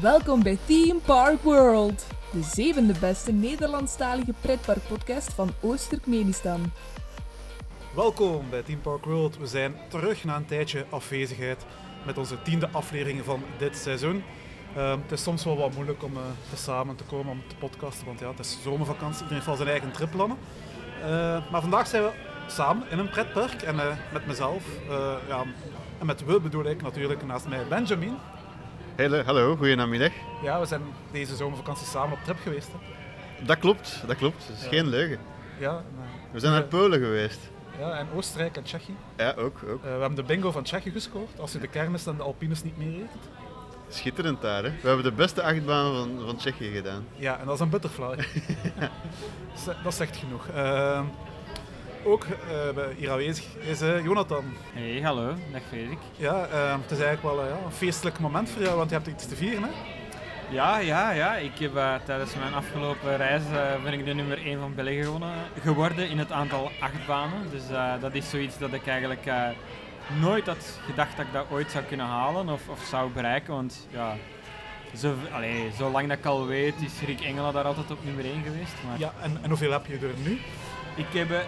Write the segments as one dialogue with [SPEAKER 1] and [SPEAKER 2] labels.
[SPEAKER 1] Welkom bij Theme Park World, de zevende beste Nederlandstalige pretparkpodcast van Oost-Turkmenistan.
[SPEAKER 2] Welkom bij Team Park World. We zijn terug na een tijdje afwezigheid met onze tiende aflevering van dit seizoen. Ehm, het is soms wel wat moeilijk om eh, te samen te komen om te podcasten, want ja, het is zomervakantie. Iedereen heeft wel zijn eigen trip plannen. Eh, maar vandaag zijn we samen in een pretpark en eh, met mezelf. eh, ja, en met we bedoel ik natuurlijk naast mij Benjamin.
[SPEAKER 3] Hele, hallo, goedenamiddag.
[SPEAKER 2] Ja, we zijn deze zomervakantie samen op trip geweest. hè.
[SPEAKER 3] Dat klopt, dat klopt. Dat is
[SPEAKER 2] Ja.
[SPEAKER 3] geen leugen.
[SPEAKER 2] Ja, en, eh,
[SPEAKER 3] We zijn naar Polen geweest.
[SPEAKER 2] ja, en Oostenrijk en Tsjechië.
[SPEAKER 3] Ja, ook, ook.
[SPEAKER 2] Eh, we hebben de bingo van Tsjechië gescoord, als je de kermis en de alpines niet meer eet.
[SPEAKER 3] Schitterend daar, hè. We hebben de beste achtbaan van, van Tsjechië gedaan.
[SPEAKER 2] Ja, en dat is een butterfly. Z- dat zegt genoeg. Ehm, ook eh, bij- hier aanwezig is eh, Jonathan.
[SPEAKER 4] Hey, hallo, dag Frederik.
[SPEAKER 2] Ja, ehm, het is eigenlijk wel eh, ja, een feestelijk moment voor jou, want je hebt iets te vieren. Hè?
[SPEAKER 4] Ja, ja, ja. Ik heb eh, tijdens mijn afgelopen reis eh, ben ik de nummer 1 van België gewonnen, geworden in het aantal achtbanen. Dus eh, dat is zoiets dat ik eigenlijk eh, nooit had gedacht dat ik dat ooit zou kunnen halen of, of zou bereiken. Want ja, zo, allee, zolang dat ik al weet is Rick Engela daar altijd op nummer 1 geweest. Maar
[SPEAKER 2] Ja, en, en hoeveel heb je er nu?
[SPEAKER 4] ik, heb, eh,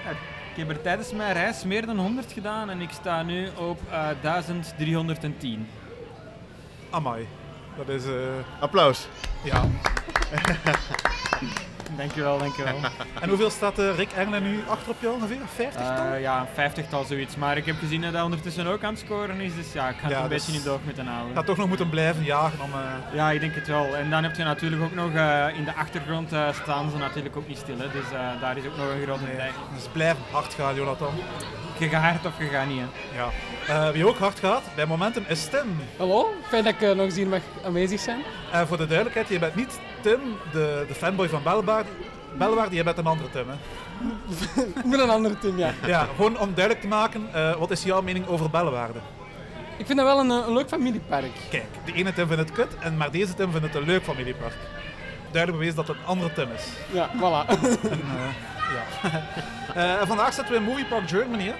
[SPEAKER 4] ik heb er tijdens mijn reis meer dan 100 gedaan en ik sta nu op eh, 1310.
[SPEAKER 2] Amai. Dat is... eh,
[SPEAKER 3] Applaus.
[SPEAKER 2] ja.
[SPEAKER 4] Dankjewel, dankjewel.
[SPEAKER 2] En hoeveel staat eh, Rick Engelen nu achter op jou ongeveer? 50
[SPEAKER 4] Eh, ja, een vijftigtal zoiets. Maar ik heb gezien dat hij ondertussen ook aan het scoren is. Dus ja, ik ga
[SPEAKER 2] Ja,
[SPEAKER 4] het een
[SPEAKER 2] dus-
[SPEAKER 4] beetje in de oog moeten houden.
[SPEAKER 2] Ga toch nog moeten blijven jagen om... eh,
[SPEAKER 4] Ja, ik denk het wel. En dan heb je natuurlijk ook nog eh, in de achtergrond eh, staan ze natuurlijk ook niet stil. Hè. Dus eh, daar is ook nog een grote
[SPEAKER 2] nee.
[SPEAKER 4] tijd.
[SPEAKER 2] Dus blijf hard gaan, Jonathan.
[SPEAKER 4] Je gaat hard of je gaat niet. Hè.
[SPEAKER 2] Ja. Eh, wie ook hard gaat, bij momenten, is Tim.
[SPEAKER 5] Hallo, fijn dat ik eh, nog eens hier mag aanwezig zijn.
[SPEAKER 2] En Eh, voor de duidelijkheid, je bent niet Tim, de, de fanboy van Belwaard. Belwaard, je bent een andere Tim. Hè?
[SPEAKER 5] Ik ben een andere team, ja.
[SPEAKER 2] Ja, gewoon om duidelijk te maken, eh, wat is jouw mening over Belwaarde?
[SPEAKER 5] Ik vind dat wel een, eh, een leuk familiepark.
[SPEAKER 2] Kijk, de ene Tim vindt het kut, en maar deze Tim vindt het een leuk familiepark. Duidelijk bewezen dat het een andere Tim is.
[SPEAKER 5] Ja, voilà.
[SPEAKER 2] En, eh, ja. Eh, en vandaag zitten we in Movie Park Germany. Hè?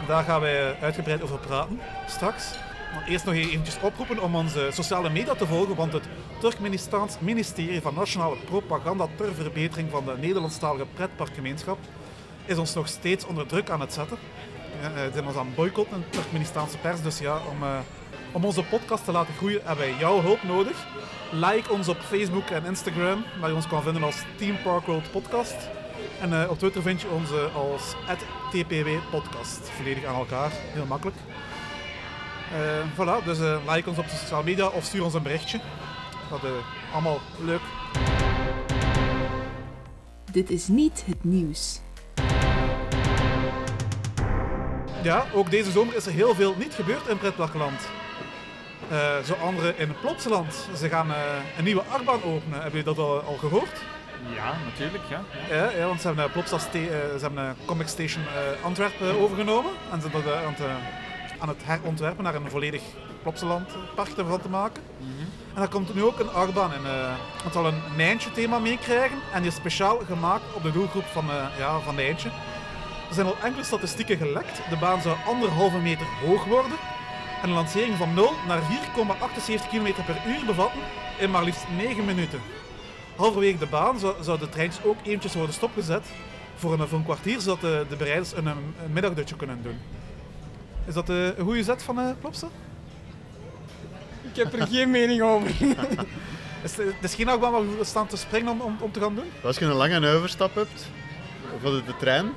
[SPEAKER 2] En daar gaan wij eh, uitgebreid over praten, straks. Maar eerst nog eventjes oproepen om onze sociale media te volgen, want het Turkmenistaans ministerie van Nationale Propaganda ter Verbetering van de Nederlandstalige Pretparkgemeenschap is ons nog steeds onder druk aan het zetten. Eh, eh, Ze zijn ons aan het boycotten, in de Turkmenistaanse pers. Dus ja, om, eh, om onze podcast te laten groeien hebben wij jouw hulp nodig. Like ons op Facebook en Instagram, waar je ons kan vinden als Team Park World Podcast. En eh, op Twitter vind je ons eh, als @tpwpodcast. Podcast. Volledig aan elkaar, heel makkelijk. Eh, voilà, dus eh, like ons op de sociale media of stuur ons een berichtje. Dat is allemaal leuk.
[SPEAKER 1] Dit is niet het nieuws.
[SPEAKER 2] Ja, ook deze zomer is er heel veel niet gebeurd in Pretparkland. Eh, zo anderen in Plopsaland. Ze gaan eh, een nieuwe achtbaan openen. Hebben jullie dat al, al gehoord?
[SPEAKER 4] Ja, natuurlijk. Ja. Ja.
[SPEAKER 2] Ja, ja, want ze hebben, eh, Plopsa ste- eh, ze hebben eh, Comic Station eh, Antwerpen overgenomen. En ze zijn dat eh, aan, het, eh, aan het herontwerpen naar een volledig Plopsaland park ervan te maken. En daar komt nu ook een achtbaan in. eh het zal een Nijntje thema meekrijgen. En die is speciaal gemaakt op de doelgroep van, eh ja, van Nijntje. Er zijn al enkele statistieken gelekt. De baan zou anderhalve meter hoog worden. En een lancering van 0 naar 4,78 km per uur bevatten in maar liefst 9 minuten. Halverwege de baan zou, zouden de treintjes ook eventjes worden stopgezet voor een, voor een kwartier, zodat de, de bereiders een, een middagdutje kunnen doen. Is dat eh, een goede zet van eh Plopsa?
[SPEAKER 5] Ik heb er geen mening over.
[SPEAKER 2] Is, eh, het het is geen achtbaan waar we staan te springen om, om, om te gaan doen?
[SPEAKER 3] Als je een lange overstap hebt, van de, de trein,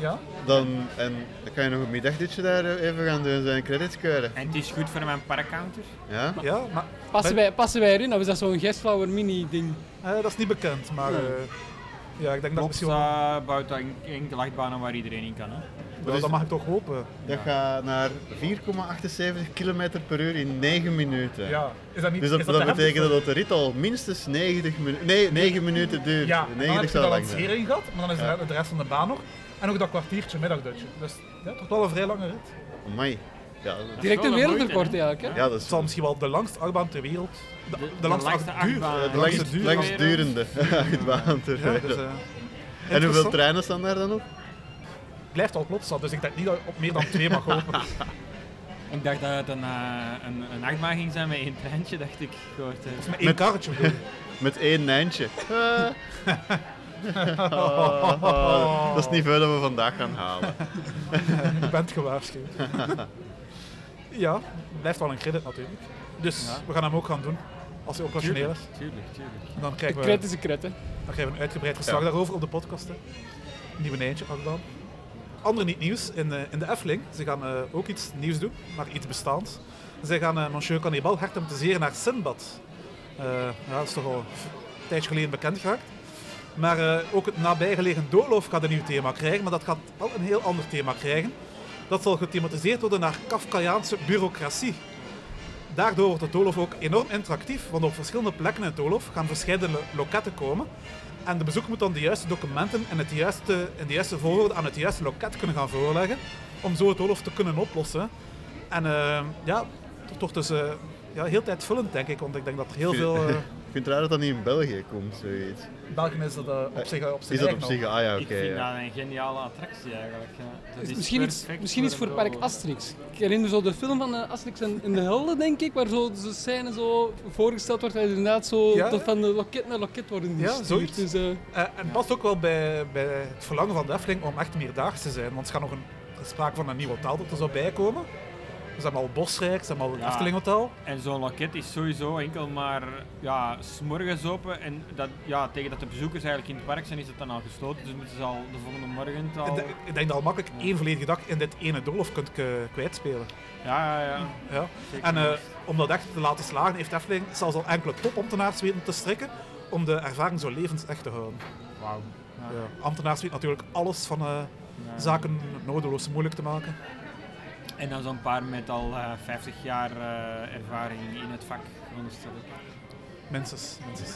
[SPEAKER 2] Ja.
[SPEAKER 3] dan, en, dan kan je nog een middagdutje daar even gaan doen, zijn credits keuren.
[SPEAKER 4] En het is goed voor mijn parkcounter.
[SPEAKER 3] Ja?
[SPEAKER 2] Ja, maar
[SPEAKER 5] Passen wij, passen wij erin of is dat zo'n gestlauer mini-ding?
[SPEAKER 2] eh, dat is niet bekend. Maar
[SPEAKER 3] Hmm.
[SPEAKER 5] Nee.
[SPEAKER 2] eh, ja, ik denk dat misschien wel...
[SPEAKER 4] Plopsa bouwt dan enkele achtbanen waar iedereen in kan. Hè.
[SPEAKER 2] Ja, dat mag ik toch hopen.
[SPEAKER 3] Dat gaat naar 4,78 km per uur in 9 minuten.
[SPEAKER 2] Ja. Is dat niet...
[SPEAKER 3] Dus dat,
[SPEAKER 2] is
[SPEAKER 3] dat,
[SPEAKER 2] de helft
[SPEAKER 3] betekent
[SPEAKER 2] van-
[SPEAKER 3] dat de rit al minstens 90 minuten... Nee, 9 minuten duurt.
[SPEAKER 2] Ja, en dan
[SPEAKER 3] 90
[SPEAKER 2] heb je
[SPEAKER 3] zou
[SPEAKER 2] de
[SPEAKER 3] lang zijn.
[SPEAKER 2] lancering gehad, maar dan is
[SPEAKER 3] Ja.
[SPEAKER 2] er de rest van de baan nog. En ook dat kwartiertje middagdutje. Dus ja, toch wel een vrij lange rit.
[SPEAKER 3] Amai. Ja, dat-
[SPEAKER 5] Direct
[SPEAKER 4] wel
[SPEAKER 5] een
[SPEAKER 4] een
[SPEAKER 5] wereldrecord
[SPEAKER 4] moeite, hè?
[SPEAKER 5] eigenlijk. Hè?
[SPEAKER 3] ja, dat is
[SPEAKER 2] Het zal misschien wel de langste achtbaan ter wereld. De, de langste,
[SPEAKER 4] langste
[SPEAKER 2] acht- duur.
[SPEAKER 4] achtbaan.
[SPEAKER 3] de
[SPEAKER 4] Langste
[SPEAKER 3] langst,
[SPEAKER 2] eh, duur.
[SPEAKER 3] langstdurende achtbaan ter
[SPEAKER 2] Ja,
[SPEAKER 3] wereld.
[SPEAKER 2] dus, eh,
[SPEAKER 3] en hoeveel
[SPEAKER 2] interessant.
[SPEAKER 3] treinen staan daar dan op?
[SPEAKER 2] blijft al klopt dus ik denk niet dat je op meer dan twee mag hopen.
[SPEAKER 4] Ik dacht dat het een, eh, een, een achtbaan ging zijn met één treintje, dacht ik. Gehoord, heb.
[SPEAKER 2] Met één karretje bedoel ik.
[SPEAKER 3] Met één nijntje. Eh. Ah, dat is het niveau dat we vandaag gaan halen.
[SPEAKER 2] Je bent gewaarschuwd. ja, blijft wel een credit natuurlijk. Dus
[SPEAKER 4] Ja.
[SPEAKER 2] we gaan hem ook gaan doen. Als hij operationeel is.
[SPEAKER 4] Tuurlijk, tuurlijk.
[SPEAKER 2] Dan
[SPEAKER 5] De
[SPEAKER 2] krijgen we,
[SPEAKER 5] kret is een kret, hè.
[SPEAKER 2] dan krijgen we een uitgebreid verslag
[SPEAKER 3] Ja.
[SPEAKER 2] daarover op de podcast. Hè. Nieuwe Nijntje, Akbaan. Ander niet nieuws in, eh, in de Efteling. Ze gaan eh, ook iets nieuws doen, maar iets bestaans. Zij gaan eh, Monsieur Cannibal hard zeer naar Sinbad. Eh, ja, dat is toch al een tijdje geleden bekend geraakt. Maar eh, ook het nabijgelegen Doolhof gaat een nieuw thema krijgen, maar dat gaat wel een heel ander thema krijgen. Dat zal gethematiseerd worden naar Kafkaiaanse bureaucratie. Daardoor wordt het doolhof ook enorm interactief, want op verschillende plekken in het doolhof gaan verschillende loketten komen. En de bezoeker moet dan de juiste documenten en het juiste, in de juiste volgorde aan het juiste loket kunnen gaan voorleggen, om zo het doolhof te kunnen oplossen. En eh, ja, het wordt dus eh, ja, heel tijdvullend, denk ik, want ik denk dat er heel veel... eh,
[SPEAKER 3] Ik vind het raar dat dat niet in België komt, zoiets.
[SPEAKER 2] in België is dat eh, op zich op
[SPEAKER 3] Is
[SPEAKER 2] zich
[SPEAKER 3] dat op zich? Ah ja, oké.
[SPEAKER 4] ik vind
[SPEAKER 3] ja.
[SPEAKER 4] dat een geniale attractie eigenlijk. ja. Dat
[SPEAKER 5] Is
[SPEAKER 4] is
[SPEAKER 5] misschien iets,
[SPEAKER 4] perfect
[SPEAKER 5] misschien iets voor
[SPEAKER 4] een
[SPEAKER 5] Park
[SPEAKER 4] doolhof.
[SPEAKER 5] Asterix. Ik herinner zo de film van eh, Asterix en, en de Helden, denk ik, waar zo de scène zo voorgesteld wordt dat inderdaad zo
[SPEAKER 2] Ja.
[SPEAKER 5] dat van eh, loket naar loket worden
[SPEAKER 2] Ja,
[SPEAKER 5] gestuurd.
[SPEAKER 2] zoiets.
[SPEAKER 5] Dus, eh,
[SPEAKER 2] Eh, en past ook wel bij, bij het verlangen van de Efteling om echt meerdaags te zijn. Want er gaat nog een er is sprake van een nieuw hotel dat er zou bijkomen. Ze hebben al Bosrijk, ze hebben al het
[SPEAKER 4] Ja.
[SPEAKER 2] Efteling Hotel.
[SPEAKER 4] En zo'n loket is sowieso enkel maar ja, s'morgens open. En dat, ja, tegen dat de bezoekers eigenlijk in het park zijn, is het dan al gesloten. Dus moeten ze al de volgende morgen het
[SPEAKER 2] Ik
[SPEAKER 4] al...
[SPEAKER 2] denk- Ik denk dat al makkelijk één volledige dag in dit ene doolhof kunt ke- kwijtspelen.
[SPEAKER 4] Ja, ja, ja.
[SPEAKER 2] Ja.
[SPEAKER 4] Zeker
[SPEAKER 2] En eh,
[SPEAKER 4] niet.
[SPEAKER 2] om dat echt te laten slagen, heeft Efteling zelfs al enkele topambtenaars weten te strikken om de ervaring zo levensecht te houden.
[SPEAKER 4] Wauw. Ja.
[SPEAKER 2] Ja. Ambtenaars weten natuurlijk alles van eh,
[SPEAKER 4] Ja.
[SPEAKER 2] zaken nodeloos moeilijk te maken.
[SPEAKER 4] En dan zo'n paar met al eh, 50 jaar eh, ervaring in het vak, veronderstel ik.
[SPEAKER 2] Minstens, minstens.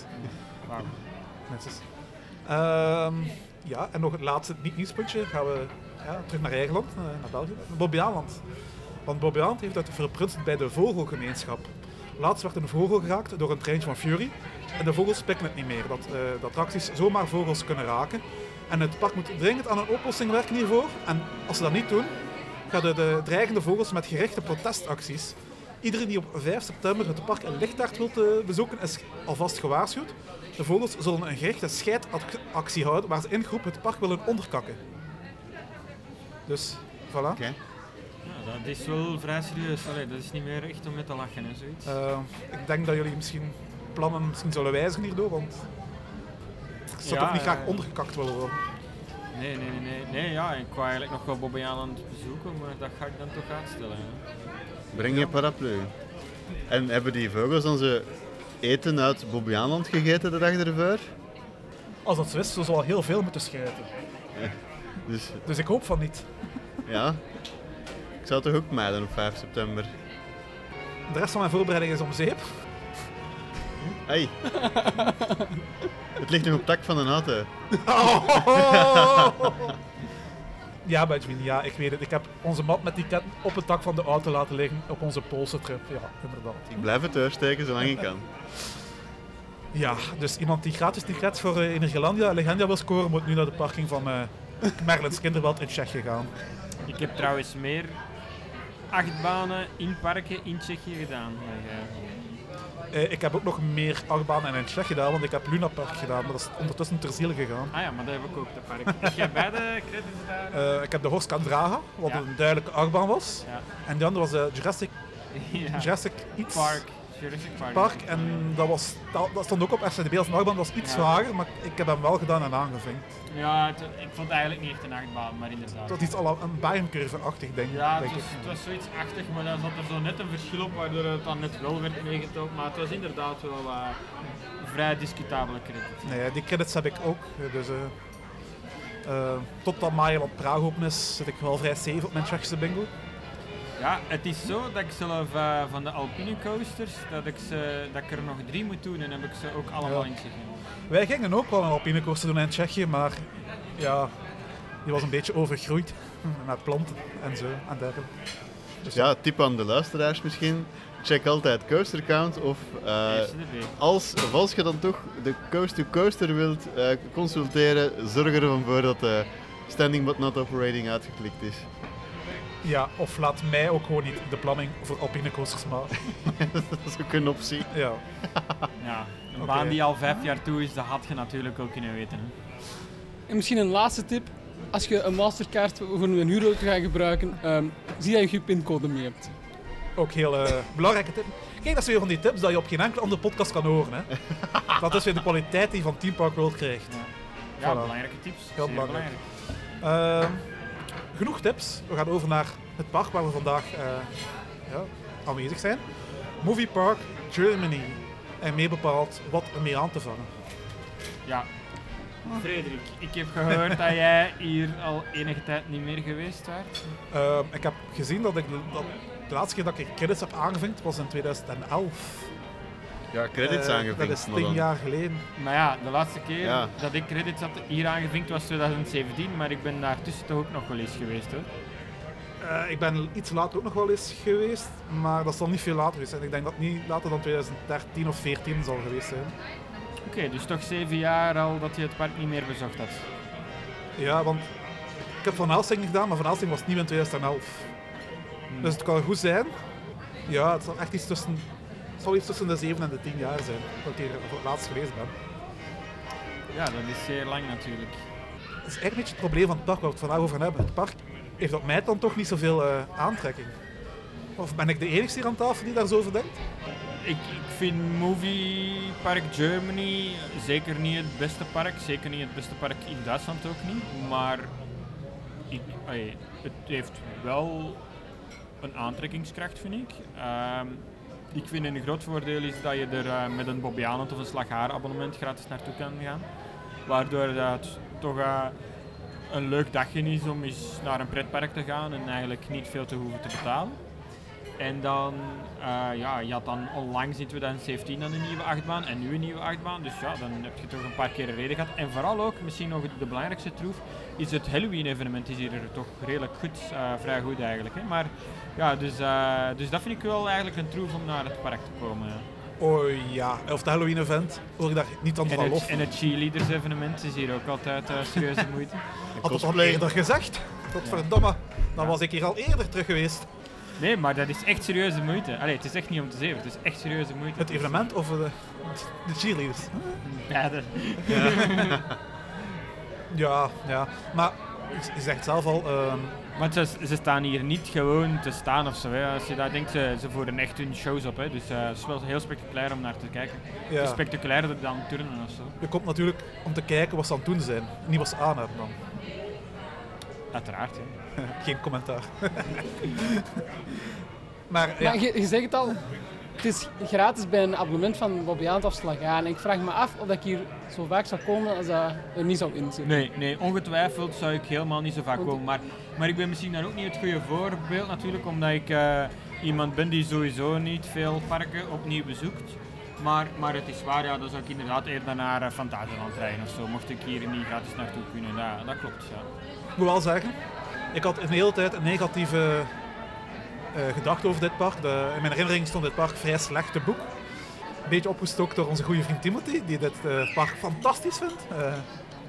[SPEAKER 4] Wauw.
[SPEAKER 2] Netjes. Ehm, ja, en nog het laatste niet-nieuwspuntje. Gaan we ja, terug naar eigen land, eh, naar België. Bobbejaanland. Want Bobbejaanland heeft het verprutst bij de vogelgemeenschap. Laatst werd een vogel geraakt door een treintje van Fury. En de vogels pikken het niet meer. Dat eh, de attracties zomaar vogels kunnen raken. En het park moet dringend aan een oplossing werken hiervoor. En als ze dat niet doen, gaan de, de dreigende vogels met gerichte protestacties. Iedereen die op 5 september het park in Lichtaart wil eh, bezoeken, is alvast gewaarschuwd. De vogels zullen een gerichte scheidactie houden waar ze in groep het park willen onderkakken. Dus, voilà.
[SPEAKER 3] Oké.
[SPEAKER 4] Ja, dat is wel vrij serieus. Allee, dat is niet meer echt om mee te lachen en zoiets.
[SPEAKER 2] Eh, ik denk dat jullie misschien plannen misschien zullen wijzigen hierdoor, want ik zou
[SPEAKER 4] Ja,
[SPEAKER 2] toch niet
[SPEAKER 4] ja,
[SPEAKER 2] graag
[SPEAKER 4] ja.
[SPEAKER 2] ondergekakt willen worden.
[SPEAKER 4] Nee, nee, nee, nee. Nee, ja, ik wou eigenlijk nog wel Bobby Aland bezoeken, maar dat ga ik dan toch uitstellen. hè.
[SPEAKER 3] Breng je paraplu. En hebben die vogels dan ze eten uit Bobbejaanland gegeten de dag ervoor?
[SPEAKER 2] Als dat zo is, zo zal al heel veel moeten scheiden.
[SPEAKER 3] Dus
[SPEAKER 2] Dus ik hoop van niet.
[SPEAKER 3] ja, ik zou toch ook mijden op 5 september.
[SPEAKER 2] De rest van mijn voorbereiding is om zeep.
[SPEAKER 3] Ai. Het ligt nog op tak van een auto.
[SPEAKER 2] Ja, Benjamin, ja, ik weet het. Ik heb onze mat met die ket op het dak van de auto laten liggen op onze Poolse trip. Ja, inderdaad.
[SPEAKER 3] Ik blijf het doorsteken zolang ik kan.
[SPEAKER 2] Ja, dus iemand die gratis tickets voor eh, Energielandia Legendia wil scoren, moet nu naar de parking van eh Merlins Kinderwelt in Tsjechië gaan.
[SPEAKER 4] Ik heb trouwens meer achtbanen in parken in Tsjechië gedaan. dan jij.
[SPEAKER 2] Eh, ik heb ook nog meer achtbanen in Tsjechië gedaan, want ik heb Luna Park gedaan, maar dat is ondertussen ter ziele gegaan.
[SPEAKER 4] Ah ja, maar dat heb ik ook, dat park. ik heb beide credits daar.
[SPEAKER 2] Eh, ik heb de Horst Draga, wat
[SPEAKER 4] Ja.
[SPEAKER 2] een duidelijke achtbaan was.
[SPEAKER 4] Ja.
[SPEAKER 2] En die andere was eh, Jurassic,
[SPEAKER 4] ja.
[SPEAKER 2] Jurassic iets.
[SPEAKER 4] Park. Jurassic Park.
[SPEAKER 2] Park. En dat, was, dat, dat stond ook op RCDB als een achtbaan. Dat was iets
[SPEAKER 4] Ja.
[SPEAKER 2] zwaarder, maar ik heb hem wel gedaan en aangevinkt.
[SPEAKER 4] Ja, het- ik vond het eigenlijk niet echt een achtbaan, maar inderdaad.
[SPEAKER 2] Dat is iets al een Bayerncurve-achtig ding,
[SPEAKER 4] Ja, het
[SPEAKER 2] denk ik.
[SPEAKER 4] was, het was zoiets achtig, maar daar zat er zo net een verschil op waardoor het dan net wel werd meegetoond. Maar het was inderdaad wel eh, een vrij discutabele credit.
[SPEAKER 2] Nee, die credits heb ik ook. Dus, eh eh, totdat Maailand Praag open is, zit ik wel vrij safe op mijn Tsjechische bingo.
[SPEAKER 4] Ja, het is zo dat ik zelf eh, van de Alpine coasters, dat ik, ze, dat ik er nog drie moet doen en heb ik ze ook allemaal
[SPEAKER 2] Ja.
[SPEAKER 4] in Tsjechië.
[SPEAKER 2] Wij gingen ook wel een alpinecoaster doen in Tsjechië, maar ja, die was een beetje overgroeid met planten en zo en dergelijke. Dus
[SPEAKER 3] Ja, tip aan de luisteraars misschien. Check altijd Coaster Count of eh,
[SPEAKER 4] Eerste de week.
[SPEAKER 3] als, of als je dan toch de coast-to-coaster wilt eh, consulteren, zorg er dan voor dat de standing but not operating uitgeklikt is.
[SPEAKER 2] Ja, of laat mij ook gewoon niet de planning voor alpine coasters maken.
[SPEAKER 3] dat is ook een optie.
[SPEAKER 2] Ja.
[SPEAKER 4] Ja, een
[SPEAKER 2] Oké.
[SPEAKER 4] baan die al vijf jaar toe is, dat had je natuurlijk ook kunnen weten. hè.
[SPEAKER 5] En misschien een laatste tip. Als je een Mastercard voor een huurauto gaat gebruiken, ehm, zie dat je je pincode mee hebt.
[SPEAKER 2] Ook heel eh, belangrijke tip. Kijk, dat is weer van die tips dat je op geen enkele andere podcast kan horen. Hè. Dat is weer de kwaliteit die je van Team Park World krijgt.
[SPEAKER 4] Ja,
[SPEAKER 2] Voilà.
[SPEAKER 4] belangrijke tips.
[SPEAKER 2] Heel
[SPEAKER 4] Zeer
[SPEAKER 2] belangrijk. Ehm, genoeg tips. We gaan over naar het park waar we vandaag eh, ja, aanwezig zijn. Movie Park Germany. En meer bepaald wat er mee aan te vangen.
[SPEAKER 4] Ja. Frederik, ik heb gehoord dat jij hier al enige tijd niet meer geweest waart.
[SPEAKER 2] Ehm, ik heb gezien dat ik de, dat de laatste keer dat ik credits heb aangevinkt was in 2011.
[SPEAKER 3] Ja, credits
[SPEAKER 2] Eh,
[SPEAKER 3] aangevinkt.
[SPEAKER 2] Dat is
[SPEAKER 3] maar
[SPEAKER 2] tien
[SPEAKER 3] dan-
[SPEAKER 2] jaar geleden.
[SPEAKER 4] Maar ja, de laatste keer
[SPEAKER 3] Ja.
[SPEAKER 4] dat ik credits had hier aangevinkt was 2017, maar ik ben daartussen toch ook nog wel eens geweest hoor.
[SPEAKER 2] Eh, ik ben iets later ook nog wel eens geweest, maar dat zal niet veel later zijn. Ik denk dat het niet later dan 2013 of 14 zal geweest zijn.
[SPEAKER 4] Oké, dus toch zeven jaar al dat je het park niet meer bezocht had.
[SPEAKER 2] Ja, want ik heb Van Helsing gedaan, maar Van Helsing was nieuw in 2011.
[SPEAKER 3] Hmm.
[SPEAKER 2] Dus het kan goed zijn. Ja, het zal echt iets tussen, het zal iets tussen de 7 en de 10 jaar zijn. Dat ik hier voor het laatst geweest ben.
[SPEAKER 4] Ja, dat is zeer lang natuurlijk.
[SPEAKER 2] Dat is eigenlijk een beetje het probleem van het park waar we het vandaag over hebben. Het park heeft op mij dan toch niet zoveel eh, aantrekking. Of ben ik de enige hier aan tafel die daar zo over denkt?
[SPEAKER 4] Ik, ik vind Movie Park Germany zeker niet het beste park. Zeker niet het beste park in Duitsland ook niet. Maar ik, ai, het heeft wel een aantrekkingskracht, vind ik. Ehm, ik vind een groot voordeel is dat je er eh, met een Bobbejaanland of een Slaghaar abonnement gratis naartoe kan gaan. Waardoor dat het toch eh, een leuk dagje is om eens naar een pretpark te gaan en eigenlijk niet veel te hoeven te betalen. En dan, eh, ja, je had dan onlangs in 2017 dan een nieuwe achtbaan en nu een nieuwe achtbaan. Dus ja, dan heb je toch een paar keer een reden gehad. En vooral ook, misschien nog de belangrijkste troef, is het Halloween-evenement is hier toch redelijk goed, eh, vrij goed eigenlijk. Hè? Maar ja, dus, eh, dus dat vind ik wel eigenlijk een troef om naar het park te komen. ja.
[SPEAKER 2] Oh ja, of de Halloween-event hoor ik daar niet aan van
[SPEAKER 4] En het,
[SPEAKER 2] lof.
[SPEAKER 4] en het cheerleaders-evenement is hier ook altijd eh, serieuze moeite.
[SPEAKER 3] Een
[SPEAKER 2] Had dat al
[SPEAKER 3] cosplay.
[SPEAKER 2] eerder gezegd? Godverdomme, dan was ik hier al eerder terug geweest.
[SPEAKER 4] Nee, maar dat is echt serieuze moeite. Allee, het is echt niet om te zeven, het is echt serieuze moeite.
[SPEAKER 2] Het evenement of de, de cheerleaders?
[SPEAKER 4] Beide.
[SPEAKER 2] Ja, ja. Maar je zegt zelf al, ehm,
[SPEAKER 4] Want ze, ze staan hier niet gewoon te staan of zo. Hè. Als je dat denkt, ze, ze voeren echt hun shows op. Hè. Dus eh, het is wel heel spectaculair om naar te kijken. Het is
[SPEAKER 2] ja,
[SPEAKER 4] spectaculairder dan turnen of zo.
[SPEAKER 2] je komt natuurlijk om te kijken wat ze aan het doen zijn. Niet wat ze aan hebben dan.
[SPEAKER 4] Uiteraard. Hè.
[SPEAKER 2] Geen commentaar. maar ja,
[SPEAKER 5] Maar je, je zegt het al, het is gratis bij een abonnement van Bobbejaand of Slagaan. En ik vraag me af of dat ik hier zo vaak zou komen als dat er niet zou in zitten.
[SPEAKER 4] Nee, nee, ongetwijfeld zou ik helemaal niet zo vaak
[SPEAKER 5] Want-
[SPEAKER 4] komen. Maar, maar ik ben misschien dan ook niet het goede voorbeeld natuurlijk, omdat ik eh, iemand ben die sowieso niet veel parken opnieuw bezoekt. Maar, maar het is waar, ja, dan zou ik inderdaad eerder naar eh, Fantasialand rijden of zo. Mocht ik hier niet gratis naartoe kunnen, dat, dat klopt. Ja.
[SPEAKER 2] ik moet wel zeggen, ik had een hele tijd een negatieve eh, gedachte over dit park. De- in mijn herinnering stond dit park vrij slecht te boek. Een beetje opgestoken door onze goede vriend Timothy, die dit eh, park fantastisch vindt. Eh,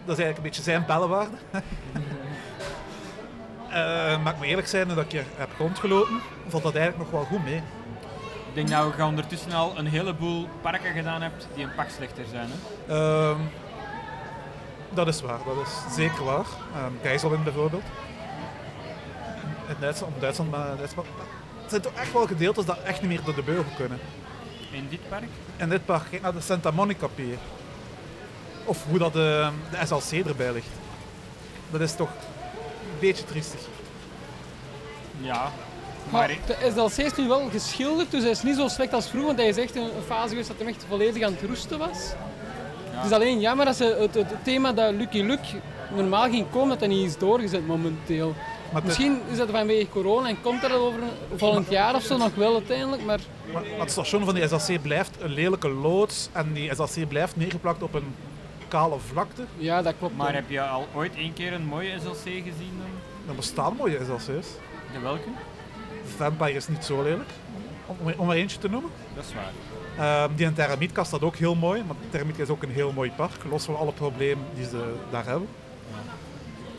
[SPEAKER 2] dat is eigenlijk een beetje zijn bellenwaarde. Eh maar ik moet eerlijk zijn, dat ik hier heb rondgelopen, valt dat eigenlijk nog wel goed mee.
[SPEAKER 4] Ik denk dat je ondertussen al een heleboel parken gedaan hebt die een pak slechter zijn. Hè?
[SPEAKER 2] Ehm, dat is waar, dat is zeker waar. Um, Gijzelin bijvoorbeeld. In Duitsland, om Duitsland, maar Duitsland. Het zijn toch echt wel gedeeltes dat echt niet meer door de beugel kunnen.
[SPEAKER 4] In dit park?
[SPEAKER 2] In dit park, kijk naar de Santa Monica Pier. Of hoe dat de, de SLC erbij ligt. Dat is toch een beetje triestig.
[SPEAKER 4] Ja. Maar
[SPEAKER 5] Maar de SLC is nu wel geschilderd, dus hij is niet zo slecht als vroeger. Want hij is echt een een fase geweest dat hem echt volledig aan het roesten was. Het is alleen jammer dat ze het, het thema dat Lucky Luke normaal ging komen, dat dat niet is doorgezet momenteel.
[SPEAKER 2] Maar het-
[SPEAKER 5] Misschien is dat vanwege corona en komt dat over een volgend jaar of zo nog wel uiteindelijk. Maar
[SPEAKER 2] Maar maar het station van die SLC blijft een lelijke loods en die SLC blijft neergeplakt op een kale vlakte.
[SPEAKER 5] ja, dat klopt.
[SPEAKER 4] Maar
[SPEAKER 5] wel.
[SPEAKER 4] heb je al ooit één keer een mooie SLC gezien dan?
[SPEAKER 2] Er bestaan mooie SLC's.
[SPEAKER 4] De welke?
[SPEAKER 2] Vampire is niet zo lelijk, om, om er eentje te noemen.
[SPEAKER 4] Dat is waar.
[SPEAKER 2] Ehm, die in Terramietkast staat ook heel mooi, want Terramietka is ook een heel mooi park, los van alle problemen die ze daar hebben.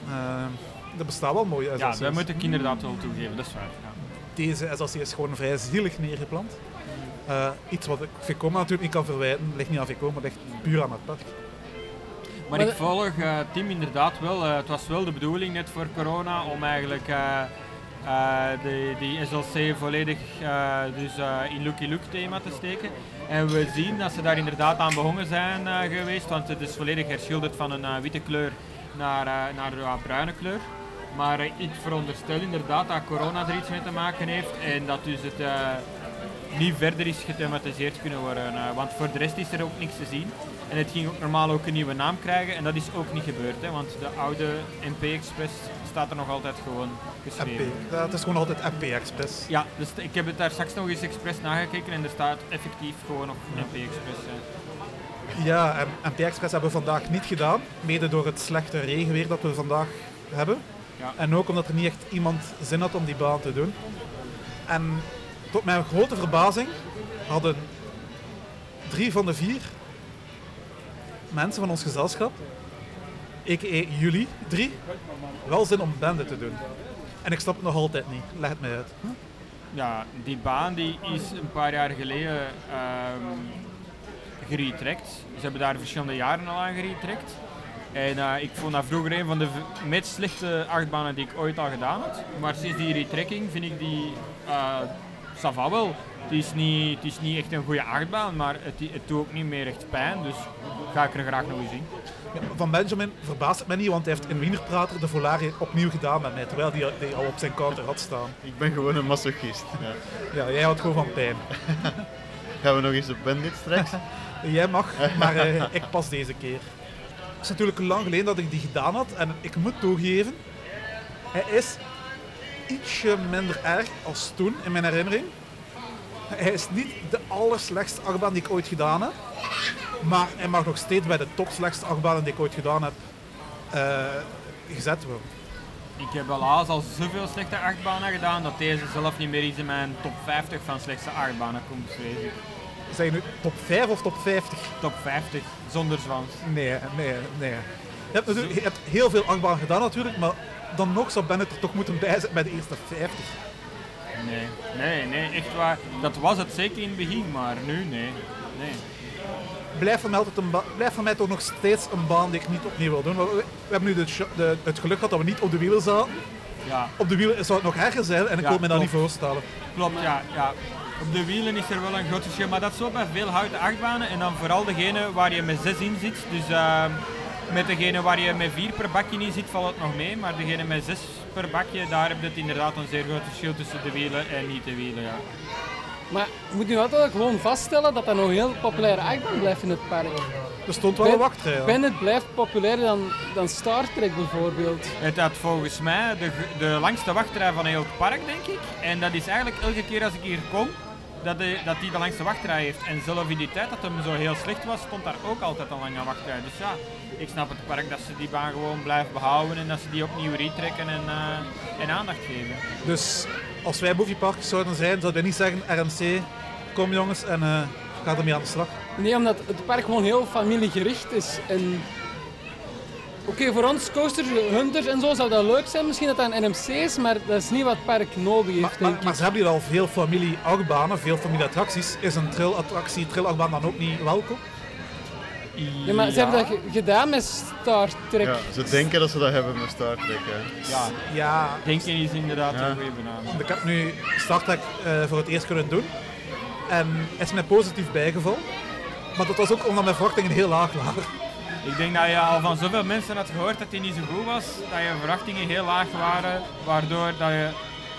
[SPEAKER 2] Ehm, Er bestaan wel mooie
[SPEAKER 4] Ja,
[SPEAKER 2] SLC's.
[SPEAKER 4] dat moet ik inderdaad wel toegeven, dat is waar. Ja.
[SPEAKER 2] Deze SLC is gewoon vrij zielig neergeplant. Eh, iets wat ik Vekoma natuurlijk niet kan verwijten. Ligt niet aan Vekoma, maar ligt puur aan het park.
[SPEAKER 4] Maar ik volg eh Tim inderdaad wel. Eh, het was wel de bedoeling net voor corona om eigenlijk eh, eh, die, die SLC volledig eh, dus, eh, in Lucky Luke thema te steken. En we zien dat ze daar inderdaad aan begonnen zijn eh, geweest, want het is volledig herschilderd van een eh, witte kleur naar, eh, naar een wat bruine kleur. Maar eh, ik veronderstel inderdaad dat corona er iets mee te maken heeft en dat dus het eh, niet verder is gethematiseerd kunnen worden. eh, want voor de rest is er ook niks te zien. En het ging ook normaal ook een nieuwe naam krijgen en dat is ook niet gebeurd, hè, want de oude MP Express staat er nog altijd gewoon
[SPEAKER 2] MP.
[SPEAKER 4] geschreven.
[SPEAKER 2] Ja, eh, het is gewoon altijd MP Express.
[SPEAKER 4] Ja, dus t- ik heb het daar straks nog eens expres nagekeken en er staat effectief gewoon nog MP Express. hè.
[SPEAKER 2] Ja, en MP Express hebben we vandaag niet gedaan. Mede door het slechte regenweer dat we vandaag hebben.
[SPEAKER 4] Ja.
[SPEAKER 2] En ook omdat er niet echt iemand zin had om die baan te doen. En tot mijn grote verbazing hadden drie van de vier mensen van ons gezelschap, a.k.a. jullie drie, wel zin om bende te doen. En ik snap het nog altijd niet. Leg het mij uit. Hm?
[SPEAKER 4] Ja, die baan die is een paar jaar geleden ehm geretrackt. Ze hebben daar verschillende jaren al aan geretrackt. En eh, ik vond dat vroeger een van de v- meest slechte achtbanen die ik ooit al gedaan had. Maar sinds die retrekking vind ik die eh sava wel. Het is, niet, het is niet echt een goede achtbaan, maar het, het doet ook niet meer echt pijn. Dus ga ik er graag nog eens in.
[SPEAKER 2] Ja, van Benjamin verbaast het mij niet, want hij heeft in Wienerprater de Volare opnieuw gedaan met mij, terwijl die, die al op zijn counter had staan.
[SPEAKER 3] Ik ben gewoon een masochist. Ja.
[SPEAKER 2] Ja, jij had gewoon van pijn.
[SPEAKER 3] Gaan we nog eens op Bandit straks?
[SPEAKER 2] Jij mag, maar eh, ik pas deze keer. Het is natuurlijk lang geleden dat ik die gedaan had en ik moet toegeven, hij is ietsje minder erg als toen in mijn herinnering. Hij is niet de allerslechtste achtbaan die ik ooit gedaan heb, maar hij mag nog steeds bij de top slechtste achtbanen die ik ooit gedaan heb eh, gezet worden.
[SPEAKER 4] Ik heb helaas al zoveel slechte achtbanen gedaan dat deze zelf niet meer iets in mijn top 50 van slechtste achtbanen komt. vrees ik.
[SPEAKER 2] Zijn nu top 5 of top 50?
[SPEAKER 4] Top 50, zonder zwans.
[SPEAKER 2] Nee, nee, nee. Je hebt, natuurlijk, je hebt heel veel achtbaan gedaan natuurlijk, maar dan nog zou Bennett er toch moeten bij zitten bij de eerste 50.
[SPEAKER 4] Nee, nee, nee, echt waar. Dat was het zeker in het begin, maar nu nee. nee.
[SPEAKER 2] Blijft voor, mij altijd een ba- blijft voor mij toch nog steeds een baan die ik niet opnieuw wil doen. Want we, we hebben nu de ch- de- het geluk gehad dat we niet op de wielen zaten.
[SPEAKER 4] Ja,
[SPEAKER 2] Op de wielen zou het nog erger zijn en ik
[SPEAKER 4] Ja,
[SPEAKER 2] wil me dat niet
[SPEAKER 4] klopt.
[SPEAKER 2] voorstellen.
[SPEAKER 4] klopt, ja, ja. Op de wielen is er wel een groot verschil, maar dat is zo bij veel houten achtbanen. En dan vooral degene waar je met 6 in zit. Dus ehm, met degene waar je met 4 per bakje in zit, valt het nog mee. Maar degene met 6 per bakje, daar heb je het inderdaad een zeer groot verschil tussen de wielen en niet de wielen. Ja.
[SPEAKER 5] Maar je moet nu altijd gewoon vaststellen dat dat nog een heel populaire achtbaan blijft in het park.
[SPEAKER 2] Er stond wel een wachtrij. ja.
[SPEAKER 5] Bennett blijft populairder dan, dan Star Trek bijvoorbeeld.
[SPEAKER 4] Het had volgens mij de, gr- de langste wachtrij van heel het park, denk ik. En dat is eigenlijk elke keer als ik hier kom, dat hij dat die de langste wachtrij heeft. En zelf in die tijd dat hem zo heel slecht was, stond daar ook altijd een lange wachtrij. Dus ja, ik snap het park dat ze die baan gewoon blijven behouden en dat ze die opnieuw retrekken en, eh, en aandacht geven.
[SPEAKER 2] Dus als wij moviepark zouden zijn, zouden wij niet zeggen RMC, kom jongens en eh, ga ermee aan de slag.
[SPEAKER 5] Nee, omdat het park gewoon heel familiegericht is. En... Oké, voor ons coasters, hunters en zo zou dat leuk zijn. Misschien dat dat een NMC is, maar dat is niet wat het park nodig heeft,
[SPEAKER 2] Maar,
[SPEAKER 5] denk
[SPEAKER 2] maar, maar ze hebben hier al veel familie-achtbanen, veel familieattracties. Is een trill-attractie, trill-achtbaan dan ook niet welkom?
[SPEAKER 5] ik. Ja, maar ze hebben dat ge- gedaan met Star Trek.
[SPEAKER 3] Ja, ze denken dat ze dat hebben met Star Trek. Hè.
[SPEAKER 4] Ja,
[SPEAKER 2] Ja,
[SPEAKER 4] denken is inderdaad
[SPEAKER 3] Ja.
[SPEAKER 4] een goede benaming.
[SPEAKER 2] ik heb nu Star Trek eh, voor het eerst kunnen doen. En is mij positief bijgevallen. Maar dat was ook omdat mijn verwachtingen heel laag lagen.
[SPEAKER 4] Ik denk dat je al van zoveel mensen had gehoord dat hij niet zo goed was, dat je verwachtingen heel laag waren, waardoor dat je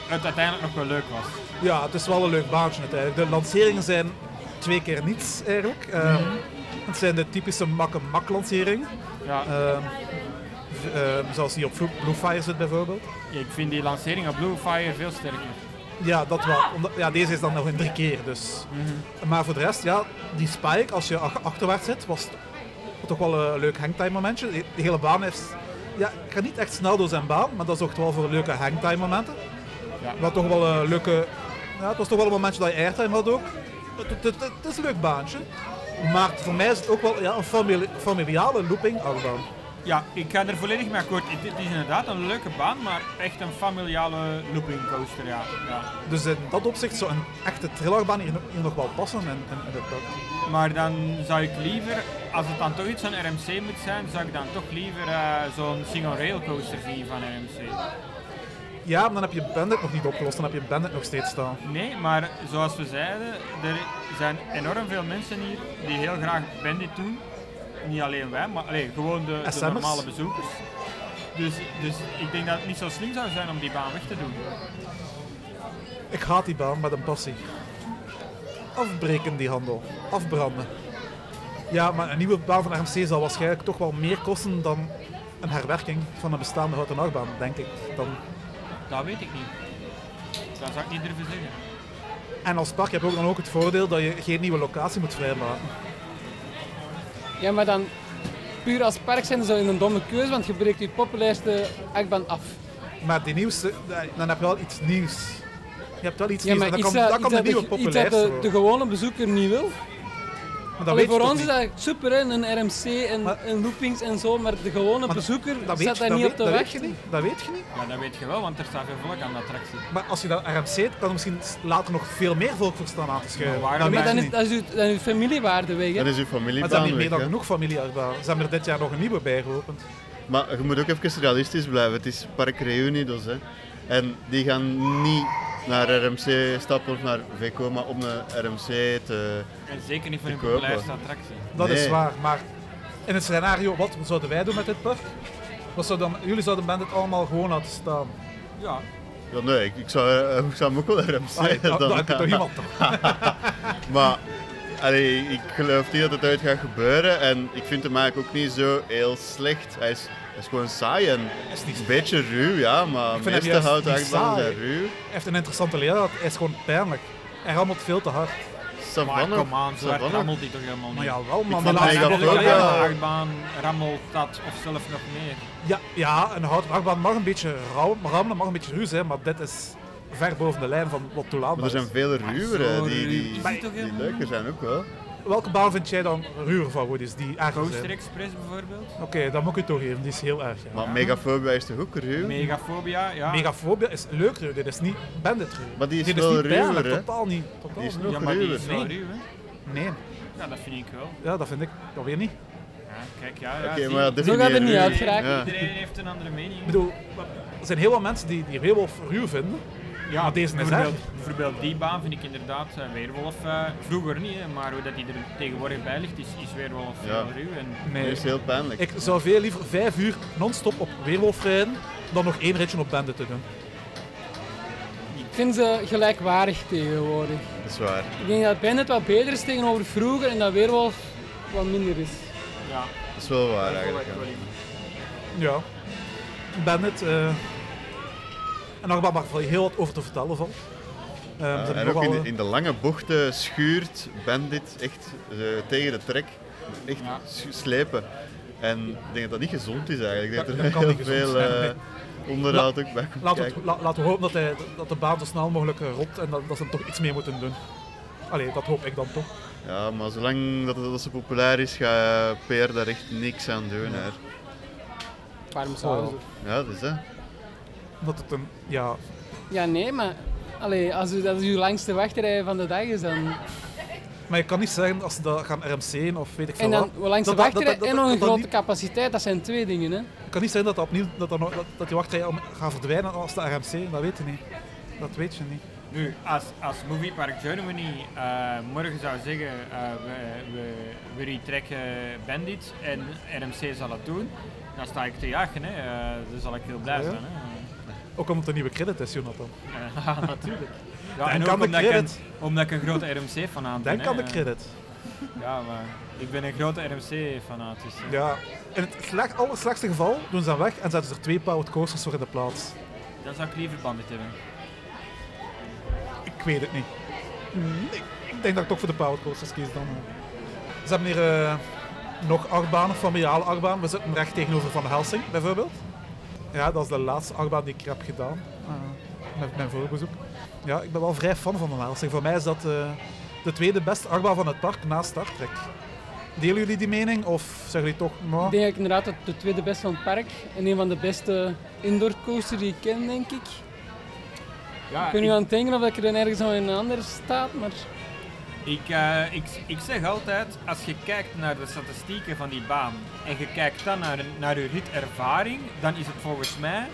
[SPEAKER 4] het uiteindelijk nog wel leuk was.
[SPEAKER 2] Ja, het is wel een leuk baantje uiteindelijk. De lanceringen zijn twee keer niets eigenlijk. Ehm, Het zijn de typische makke-mak lanceringen.
[SPEAKER 4] Ja.
[SPEAKER 2] Ehm, v- ehm, zoals die op Blue Blue Fire zit bijvoorbeeld.
[SPEAKER 4] Ik vind die lancering op Blue Fire veel sterker.
[SPEAKER 2] Ja, dat wel. Omdat, ja, deze is dan nog in drie keer dus. Maar voor de rest, ja, die spike, als je ach- achterwaarts zit, was t- toch wel een leuk hangtime momentje. De de hele baan is... Ja, ik ga niet echt snel door zijn baan, maar dat zorgt wel voor leuke hangtime momenten.
[SPEAKER 4] Ja.
[SPEAKER 2] Wat toch wel een leuke... Ja, het was toch wel een momentje dat je airtime had ook. Het, het, het- het is een leuk baantje. Maar voor mij is het ook wel ja, een famili- familiale looping achtbaan.
[SPEAKER 4] Ja, ik ga er volledig mee akkoord. Het, het is inderdaad een leuke baan, maar echt een familiale looping coaster, ja. ja.
[SPEAKER 2] Dus in dat opzicht zou een echte trillerbaan hier, nog- hier nog wel passen. En, en, en dat- dat-
[SPEAKER 4] Maar dan zou ik liever, als het dan toch iets van RMC moet zijn, zou ik dan toch liever eh, zo'n single rail coaster zien van RMC.
[SPEAKER 2] Ja, maar dan heb je Bandit nog niet opgelost. Dan heb je Bandit nog steeds staan.
[SPEAKER 4] Nee, maar zoals we zeiden, er zijn enorm veel mensen hier die heel graag Bandit doen. Niet alleen wij, maar allee, gewoon de, de
[SPEAKER 2] SM'ers.
[SPEAKER 4] normale bezoekers. Dus, dus ik denk dat het niet zo slim zou zijn om die baan weg te doen.
[SPEAKER 2] Ik haat die baan met een passie. Afbreken die handel. Afbranden. Ja, maar een nieuwe baan van RMC zal waarschijnlijk toch wel meer kosten dan een herwerking van een bestaande houten achtbaan, denk ik. Dan.
[SPEAKER 4] Dat weet ik niet. Dat zou ik niet durven zeggen.
[SPEAKER 2] En als park heb je ook dan ook het voordeel dat je geen nieuwe locatie moet vrijmaken.
[SPEAKER 5] Ja, maar dan puur als park zijn ze een domme keuze, want je breekt je populairste achtbaan af.
[SPEAKER 2] Maar die nieuwste, eh, dan heb je wel iets nieuws. Je hebt wel iets
[SPEAKER 5] Ja,
[SPEAKER 2] nieuws.
[SPEAKER 5] maar
[SPEAKER 2] En dan
[SPEAKER 5] iets
[SPEAKER 2] kan, dan
[SPEAKER 5] dat-
[SPEAKER 2] kan de
[SPEAKER 5] iets
[SPEAKER 2] nieuwe
[SPEAKER 5] dat de- iets dat
[SPEAKER 2] populairste
[SPEAKER 5] de,
[SPEAKER 2] worden.
[SPEAKER 5] de gewone bezoeker niet wil.
[SPEAKER 2] Maar dat
[SPEAKER 5] Allee,
[SPEAKER 2] weet je
[SPEAKER 5] voor
[SPEAKER 2] toch
[SPEAKER 5] ons is
[SPEAKER 2] niet?
[SPEAKER 5] dat super, hè, een RMC en,
[SPEAKER 2] Maar-
[SPEAKER 5] en loopings en zo, maar de gewone
[SPEAKER 2] Maar
[SPEAKER 5] bezoeker
[SPEAKER 2] Dat weet,
[SPEAKER 5] zat
[SPEAKER 2] je-
[SPEAKER 5] daar
[SPEAKER 2] dat
[SPEAKER 5] niet
[SPEAKER 2] weet-
[SPEAKER 5] op te
[SPEAKER 2] dat weet
[SPEAKER 5] wachten.
[SPEAKER 2] je niet. Dat weet je niet.
[SPEAKER 4] Ja, dat weet je wel, want er staat veel volk aan de attractie.
[SPEAKER 2] Maar als je dat RMC, kan er misschien later nog veel meer volk voor staan aan te schuiven. dat
[SPEAKER 4] Maar waarom-
[SPEAKER 5] Maar
[SPEAKER 2] weet je
[SPEAKER 5] dan is,
[SPEAKER 2] niet.
[SPEAKER 5] dan is, uw, dan is uw familiewaarde weg. Hè?
[SPEAKER 3] Dan is uw
[SPEAKER 2] Maar ze hebben
[SPEAKER 3] familiebaan
[SPEAKER 2] hier meer
[SPEAKER 3] weg.
[SPEAKER 2] dan
[SPEAKER 3] hè.
[SPEAKER 2] genoeg familieachtbaan. Ze hebben er dit jaar nog een nieuwe bij geopend.
[SPEAKER 3] Maar je moet ook even realistisch blijven. Het is Park Reunidos. Hè. En die gaan niet naar RMC stappen of naar VComa om een RMC te...
[SPEAKER 4] En zeker niet voor een
[SPEAKER 3] Ik ook,
[SPEAKER 4] populairste attractie.
[SPEAKER 2] Dat is
[SPEAKER 3] Nee.
[SPEAKER 2] waar, maar in het scenario, wat zouden wij doen met dit park? Wat zou dan, jullie zouden Bandit allemaal gewoon laten staan.
[SPEAKER 4] Ja,
[SPEAKER 3] Ja, nee, ik, ik zou, eh, ik zou hem ook wel RMC
[SPEAKER 2] Ah,
[SPEAKER 3] dan
[SPEAKER 2] dat, dat heb ik toch iemand toch?
[SPEAKER 3] Maar allee, ik geloof niet dat het uit gaat gebeuren. En ik vind hem eigenlijk ook niet zo heel slecht. Hij is, hij is gewoon saai en
[SPEAKER 2] Is niet
[SPEAKER 3] een beetje ruw, ja. Maar
[SPEAKER 2] Ik vind
[SPEAKER 3] de
[SPEAKER 2] hem
[SPEAKER 3] meeste
[SPEAKER 2] juist
[SPEAKER 3] houten
[SPEAKER 2] niet
[SPEAKER 3] achtbanen
[SPEAKER 2] saai.
[SPEAKER 3] zijn ruw.
[SPEAKER 2] Hij heeft een interessante leraar, hij is gewoon pijnlijk. Hij rammelt veel te hard.
[SPEAKER 4] maar
[SPEAKER 3] Savannah,
[SPEAKER 4] kom aan, zo hard rammelt die toch helemaal niet.
[SPEAKER 2] Maar jawel man,
[SPEAKER 3] vond
[SPEAKER 2] laatste
[SPEAKER 3] Mega
[SPEAKER 4] de
[SPEAKER 2] keer dat
[SPEAKER 3] Flow
[SPEAKER 2] ik alleen
[SPEAKER 3] wel-
[SPEAKER 2] was.
[SPEAKER 4] achtbaan rammelt dat of zelf nog meer.
[SPEAKER 2] Ja, ja, een houten achtbaan mag een beetje rauw, rammelen, mag een beetje ruw zijn, maar dit is ver boven de lijn van wat toelaatbaar
[SPEAKER 3] Maar er zijn
[SPEAKER 2] is.
[SPEAKER 3] vele ruwere
[SPEAKER 4] zo
[SPEAKER 3] die,
[SPEAKER 4] ruw
[SPEAKER 3] die,
[SPEAKER 4] is
[SPEAKER 3] die,
[SPEAKER 4] die toch helemaal
[SPEAKER 3] leuker
[SPEAKER 4] niet?
[SPEAKER 3] zijn ook wel.
[SPEAKER 2] Welke baan vind jij dan ruwer van Woody's die erger
[SPEAKER 4] Coaster
[SPEAKER 2] zijn?
[SPEAKER 4] Express bijvoorbeeld.
[SPEAKER 2] Oké, dat moet ik je toegeven, die is heel erg. Ja.
[SPEAKER 3] Maar Megafobia is toch ook ruw?
[SPEAKER 4] Megafobia, ja.
[SPEAKER 2] Megafobia is leuk ruw, dit is niet bandit ruw.
[SPEAKER 3] Maar die is
[SPEAKER 2] dit
[SPEAKER 3] wel
[SPEAKER 2] niet
[SPEAKER 3] ruwer,
[SPEAKER 2] pijnlijk,
[SPEAKER 3] hè?
[SPEAKER 2] totaal niet. Totaal
[SPEAKER 3] Die is
[SPEAKER 2] niet.
[SPEAKER 3] nog
[SPEAKER 4] ja, maar die is
[SPEAKER 3] ruwer.
[SPEAKER 4] wel
[SPEAKER 2] Nee.
[SPEAKER 4] ruw, hè.
[SPEAKER 2] Nee,
[SPEAKER 4] Ja, dat vind ik wel.
[SPEAKER 2] ja, dat vind ik alweer niet.
[SPEAKER 4] Ja, kijk, ja, ja.
[SPEAKER 3] Oké,
[SPEAKER 4] zie
[SPEAKER 3] maar ja,
[SPEAKER 4] je.
[SPEAKER 3] dit
[SPEAKER 5] Zo
[SPEAKER 3] is
[SPEAKER 5] gaat het niet
[SPEAKER 3] ruw.
[SPEAKER 5] uit, graag.
[SPEAKER 3] Ja.
[SPEAKER 4] Iedereen heeft een andere
[SPEAKER 2] Ik
[SPEAKER 4] mening.
[SPEAKER 2] bedoel, er zijn heel wat mensen die, die Weerwolf ruw vinden.
[SPEAKER 4] Ja,
[SPEAKER 2] maar deze is
[SPEAKER 4] bijvoorbeeld,
[SPEAKER 2] erg.
[SPEAKER 4] bijvoorbeeld die baan vind ik inderdaad eh, Weerwolf. eh, vroeger niet, hè, maar hoe dat die er tegenwoordig bij ligt, is, is Weerwolf
[SPEAKER 3] Ja.
[SPEAKER 4] heel ruw. En
[SPEAKER 3] Die is heel pijnlijk.
[SPEAKER 2] Ik zou veel liever vijf uur non-stop op Weerwolf rijden dan nog één ritje op Bandit te doen.
[SPEAKER 5] Ik vind ze gelijkwaardig tegenwoordig.
[SPEAKER 3] Dat is waar.
[SPEAKER 5] Ik denk dat Bandit wat beter is tegenover vroeger en dat Weerwolf wat minder is.
[SPEAKER 4] ja,
[SPEAKER 3] Dat is wel waar eigenlijk.
[SPEAKER 4] wel
[SPEAKER 3] ja.
[SPEAKER 4] in.
[SPEAKER 2] Ja. Bandit. eh en nog maar waar heel wat over te vertellen valt. Ehm, ze
[SPEAKER 3] Ja,
[SPEAKER 2] hebben
[SPEAKER 3] Eh, en
[SPEAKER 2] nog
[SPEAKER 3] ook in
[SPEAKER 2] wel-
[SPEAKER 3] de, in de lange bochten schuurt Bandit echt eh, tegen de trek. Echt
[SPEAKER 4] Ja.
[SPEAKER 3] s- slepen. En ik denk dat dat niet gezond is eigenlijk. Ik
[SPEAKER 2] Dat-
[SPEAKER 3] denk
[SPEAKER 2] dat kan
[SPEAKER 3] dat er heel
[SPEAKER 2] niet gezond
[SPEAKER 3] veel
[SPEAKER 2] zijn,
[SPEAKER 3] eh,
[SPEAKER 2] nee.
[SPEAKER 3] onderhoud ook bij komt
[SPEAKER 2] Laten we,
[SPEAKER 3] kijken.
[SPEAKER 2] la- laten we hopen dat, hij, dat de baan zo snel mogelijk eh, rolt en dat, dat ze er toch iets mee moeten doen. Allee, dat hoop ik dan toch.
[SPEAKER 3] Ja, maar zolang dat, dat ze populair is, gaat Peer daar echt niks aan doen. hè.
[SPEAKER 5] Waarom zouden ze?
[SPEAKER 3] Ja, dat is hè.
[SPEAKER 2] Omdat het een, ja,
[SPEAKER 5] Ja, nee, maar allee, als u, dat is uw langste wachtrij van de dag is dan...
[SPEAKER 2] Maar je kan niet zeggen als ze dat gaan RMC'en of weet ik veel
[SPEAKER 5] En dan
[SPEAKER 2] wat.
[SPEAKER 5] hoe langs de
[SPEAKER 2] Dat- dat-
[SPEAKER 5] wachtrij
[SPEAKER 2] dat- dat-
[SPEAKER 5] en nog
[SPEAKER 2] dat-
[SPEAKER 5] een
[SPEAKER 2] dat Oh.
[SPEAKER 5] grote
[SPEAKER 2] niet-
[SPEAKER 5] capaciteit, dat zijn twee dingen. Hè?
[SPEAKER 2] Het kan niet zeggen dat, dat, opnieuw, dat, dat, nog- dat, dat die wachtrij om- gaat verdwijnen als de RMC. Dat weet je niet. Dat weet je niet.
[SPEAKER 4] Nu, als, als Movie Park Germany eh, morgen zou zeggen eh, we, we, we retrekken Bandit en RMC zal dat doen, dan sta ik te jagen, hè. eh, dus zal ik heel blij
[SPEAKER 2] Ja.
[SPEAKER 4] zijn. Hè.
[SPEAKER 2] Ook omdat het een nieuwe credit is, Jonathan.
[SPEAKER 4] Eh, ja, natuurlijk. Ja,
[SPEAKER 2] Denk
[SPEAKER 4] en
[SPEAKER 2] aan
[SPEAKER 4] ook
[SPEAKER 2] de
[SPEAKER 4] omdat ik, een,
[SPEAKER 2] credit.
[SPEAKER 4] omdat ik een grote RMC-fanaat ben.
[SPEAKER 2] Denk
[SPEAKER 4] hè.
[SPEAKER 2] aan de credit.
[SPEAKER 4] Ja, maar ik ben een grote RMC-fanaat. Dus, eh.
[SPEAKER 2] Ja. In het slecht, allerslechtste geval doen ze hem weg en zetten ze er twee powered coasters voor in de plaats.
[SPEAKER 4] Dan zou ik liever Bandit hebben.
[SPEAKER 2] Ik weet het niet. Nee, ik denk dat ik toch voor de powered coasters kies dan. hè. Ze hebben hier eh, nog achtbanen, familiale achtbaan. We zitten recht tegenover Van Helsing bijvoorbeeld. Ja, dat is de laatste achtbaan die ik heb gedaan. eh, met mijn voorbezoek. Ja, ik ben wel vrij fan van Van Helsing. Voor mij is dat eh, de tweede beste achtbaan van het park na Star Trek. Delen jullie die mening of zeggen jullie toch... nou,
[SPEAKER 5] Ik denk eigenlijk inderdaad dat de tweede beste van het park en een van de beste indoor coasters die ik ken, denk ik.
[SPEAKER 4] Ja,
[SPEAKER 5] Ik ben nu
[SPEAKER 4] ik-
[SPEAKER 5] aan het denken of ik er dan ergens aan een ander staat, maar
[SPEAKER 4] Ik, eh, ik, ik zeg altijd, als je kijkt naar de statistieken van die baan en je kijkt dan naar, naar je ritervaring, dan is het volgens mij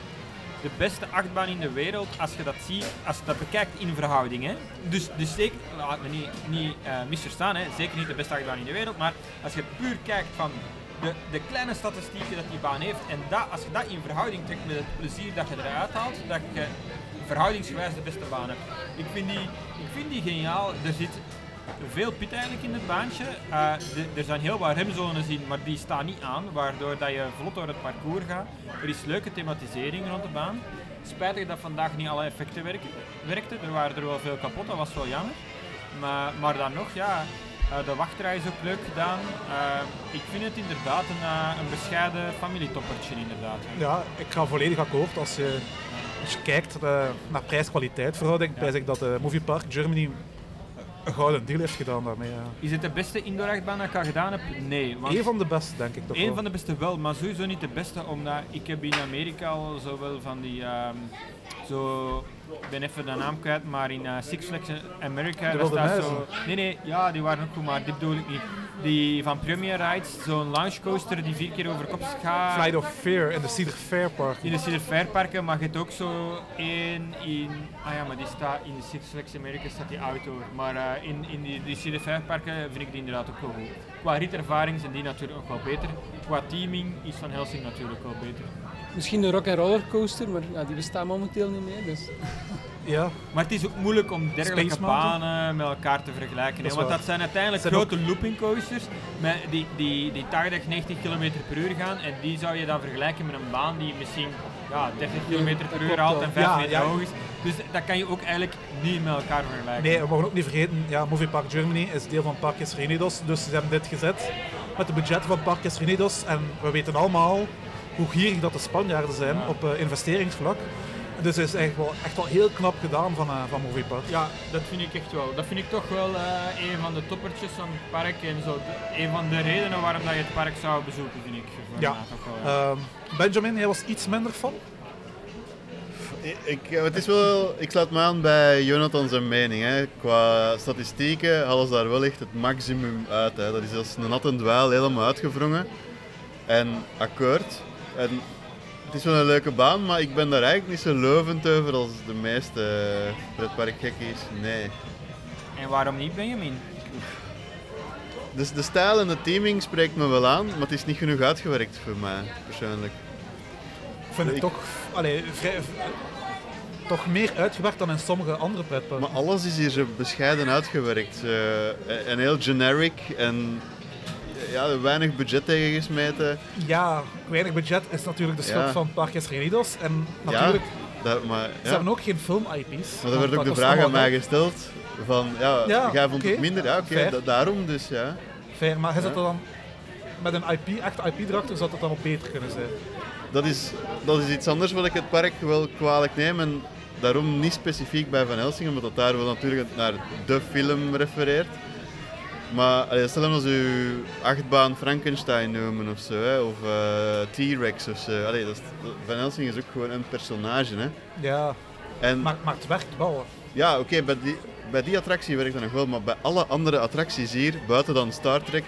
[SPEAKER 4] de beste achtbaan in de wereld als je dat ziet, als je dat bekijkt in verhouding. Hè? Dus, dus zeker, laat me niet, niet eh, misverstaan, hè? zeker niet de beste achtbaan in de wereld, maar als je puur kijkt van de, de kleine statistieken dat die baan heeft en dat, als je dat in verhouding trekt met het plezier dat je eruit haalt, dat je verhoudingsgewijs de beste baan hebt. Ik vind die, ik vind die geniaal. Er zit veel pit eigenlijk in het baantje. Eh, de- er zijn heel wat remzones in, maar die staan niet aan, waardoor dat je vlot door het parcours gaat. Er is leuke thematisering rond de baan. Spijtig dat vandaag niet alle effecten werken, werkten. Er waren er wel veel kapot, dat was wel jammer. Maar, maar dan nog, ja, eh, de wachtrij is ook leuk gedaan. Eh, ik vind het inderdaad een, eh, een bescheiden familietoppertje inderdaad.
[SPEAKER 2] Ja, ik ga volledig akkoord. Als je, als je kijkt eh, naar prijs-kwaliteit verhouding, prijs ik dat eh, Movie Park Germany een gouden deal heeft gedaan daarmee. ja.
[SPEAKER 4] Is het de beste indoorachtbaan dat ik al gedaan heb? Nee. Want
[SPEAKER 2] Eén van de beste, denk ik toch
[SPEAKER 4] Een
[SPEAKER 2] wel.
[SPEAKER 4] van de beste wel, maar sowieso niet de beste, omdat ik heb in Amerika al zo wel van die, ehm, zo, ik ben even de naam kwijt, maar in eh, Six Flags America,
[SPEAKER 2] De
[SPEAKER 4] daar
[SPEAKER 2] Wilde
[SPEAKER 4] staat
[SPEAKER 2] Muizen.
[SPEAKER 4] zo, nee nee, ja die waren ook goed, maar dit bedoel ik niet. Die van Premier Rides, zo'n lounge coaster die vier keer over kop gaat.
[SPEAKER 2] Flight of Fear in de Cedar Fair Park.
[SPEAKER 4] In de Cedar Fair parken, maar je hebt ook zo één in... Ah ja, maar die staat in de Six Flags America staat die auto. Maar eh, in, in die, die Cedar Fair parken vind ik die inderdaad ook wel goed. Qua ritervaring zijn die natuurlijk ook wel beter. Qua teaming is Van Helsing natuurlijk wel beter.
[SPEAKER 5] misschien de rock and roller coaster, maar ja, die bestaat momenteel niet meer. Dus.
[SPEAKER 2] Ja,
[SPEAKER 4] Maar het is ook moeilijk om dergelijke
[SPEAKER 2] Space Mountain?
[SPEAKER 4] banen met elkaar te vergelijken. hè,
[SPEAKER 2] Dat is
[SPEAKER 4] want
[SPEAKER 2] waar.
[SPEAKER 4] dat zijn uiteindelijk
[SPEAKER 2] Zijn
[SPEAKER 4] grote looping coasters met die, die, die 80, 90 km per uur gaan. En die zou je dan vergelijken met een baan die misschien ja, 30 km
[SPEAKER 5] dat
[SPEAKER 4] per
[SPEAKER 5] klopt
[SPEAKER 4] uur haalt en
[SPEAKER 5] wel.
[SPEAKER 4] 5
[SPEAKER 2] Ja,
[SPEAKER 4] meter
[SPEAKER 2] ja.
[SPEAKER 4] hoog is. Dus dat kan je ook eigenlijk niet met elkaar vergelijken.
[SPEAKER 2] nee, we mogen ook niet vergeten, ja, Movie Park Germany is deel van Parkjes Reunidos, dus ze hebben dit gezet met het budget van Parkjes Reunidos. En we weten allemaal hoe gierig dat de Spanjaarden zijn op eh, investeringsvlak. Dus het is echt wel, echt wel heel knap gedaan van, eh, van Movie Park.
[SPEAKER 4] Ja, dat vind ik echt wel. Dat vind ik toch wel eh, een van de toppertjes van het park en zo. De- Een van de redenen waarom dat je het park zou bezoeken, vind ik. voor
[SPEAKER 2] Ja.
[SPEAKER 4] mij toch wel, ja.
[SPEAKER 2] Ehm, Benjamin, jij was iets minder van.
[SPEAKER 3] Ik, ja, het is wel, ik sluit me aan bij Jonathan zijn mening. Hè. Qua statistieken halen ze daar wel echt het maximum uit. Hè. Dat is als een nat en dweil helemaal uitgevrongen. En akkoord. En het is wel een leuke baan, maar ik ben daar eigenlijk niet zo lovend over als de meeste pretparkgekkies. Nee.
[SPEAKER 4] En waarom niet, Benjamin?
[SPEAKER 3] Dus de stijl en de teaming spreekt me wel aan, maar het is niet genoeg uitgewerkt voor mij, persoonlijk.
[SPEAKER 2] Ik vind het
[SPEAKER 3] Ik-
[SPEAKER 2] toch, allee, vrij, v- eh, toch meer uitgewerkt dan in sommige andere pretparken.
[SPEAKER 3] Maar alles is hier zo bescheiden uitgewerkt. eh, en heel generic en eh, ja, weinig budget tegengesmeten.
[SPEAKER 2] Ja, weinig budget is natuurlijk de schuld
[SPEAKER 3] Ja.
[SPEAKER 2] van Parkjes Reunidos. En natuurlijk,
[SPEAKER 3] Ja, dat, maar,
[SPEAKER 2] ze
[SPEAKER 3] ja.
[SPEAKER 2] hebben ook geen film-IP's.
[SPEAKER 3] maar er werd ook de vraag aan mij gesteld van, ja,
[SPEAKER 2] Ja,
[SPEAKER 3] jij vond
[SPEAKER 2] oké.
[SPEAKER 3] het minder, ja, oké,
[SPEAKER 2] Fair.
[SPEAKER 3] da- daarom dus, ja.
[SPEAKER 2] Fair, maar hij zat
[SPEAKER 3] Ja.
[SPEAKER 2] er dan met een IP, echt IP erachter, zou dat dan nog beter kunnen zijn.
[SPEAKER 3] Dat is, dat is iets anders wat ik het park wel kwalijk neem en daarom niet specifiek bij Van Helsing, omdat dat daar wel natuurlijk naar de film refereert. Maar allee, stel hem als u achtbaan Frankenstein noemen of zo, hè, of eh, T-Rex of zo. Allee, dat is, dat- Van Helsing is ook gewoon een personage. Hè.
[SPEAKER 2] Ja,
[SPEAKER 3] En
[SPEAKER 2] maar, maar het werkt wel.
[SPEAKER 3] ja, oké, bij, die, bij die attractie werkt dat nog wel, maar bij alle andere attracties hier, buiten dan Star Trek,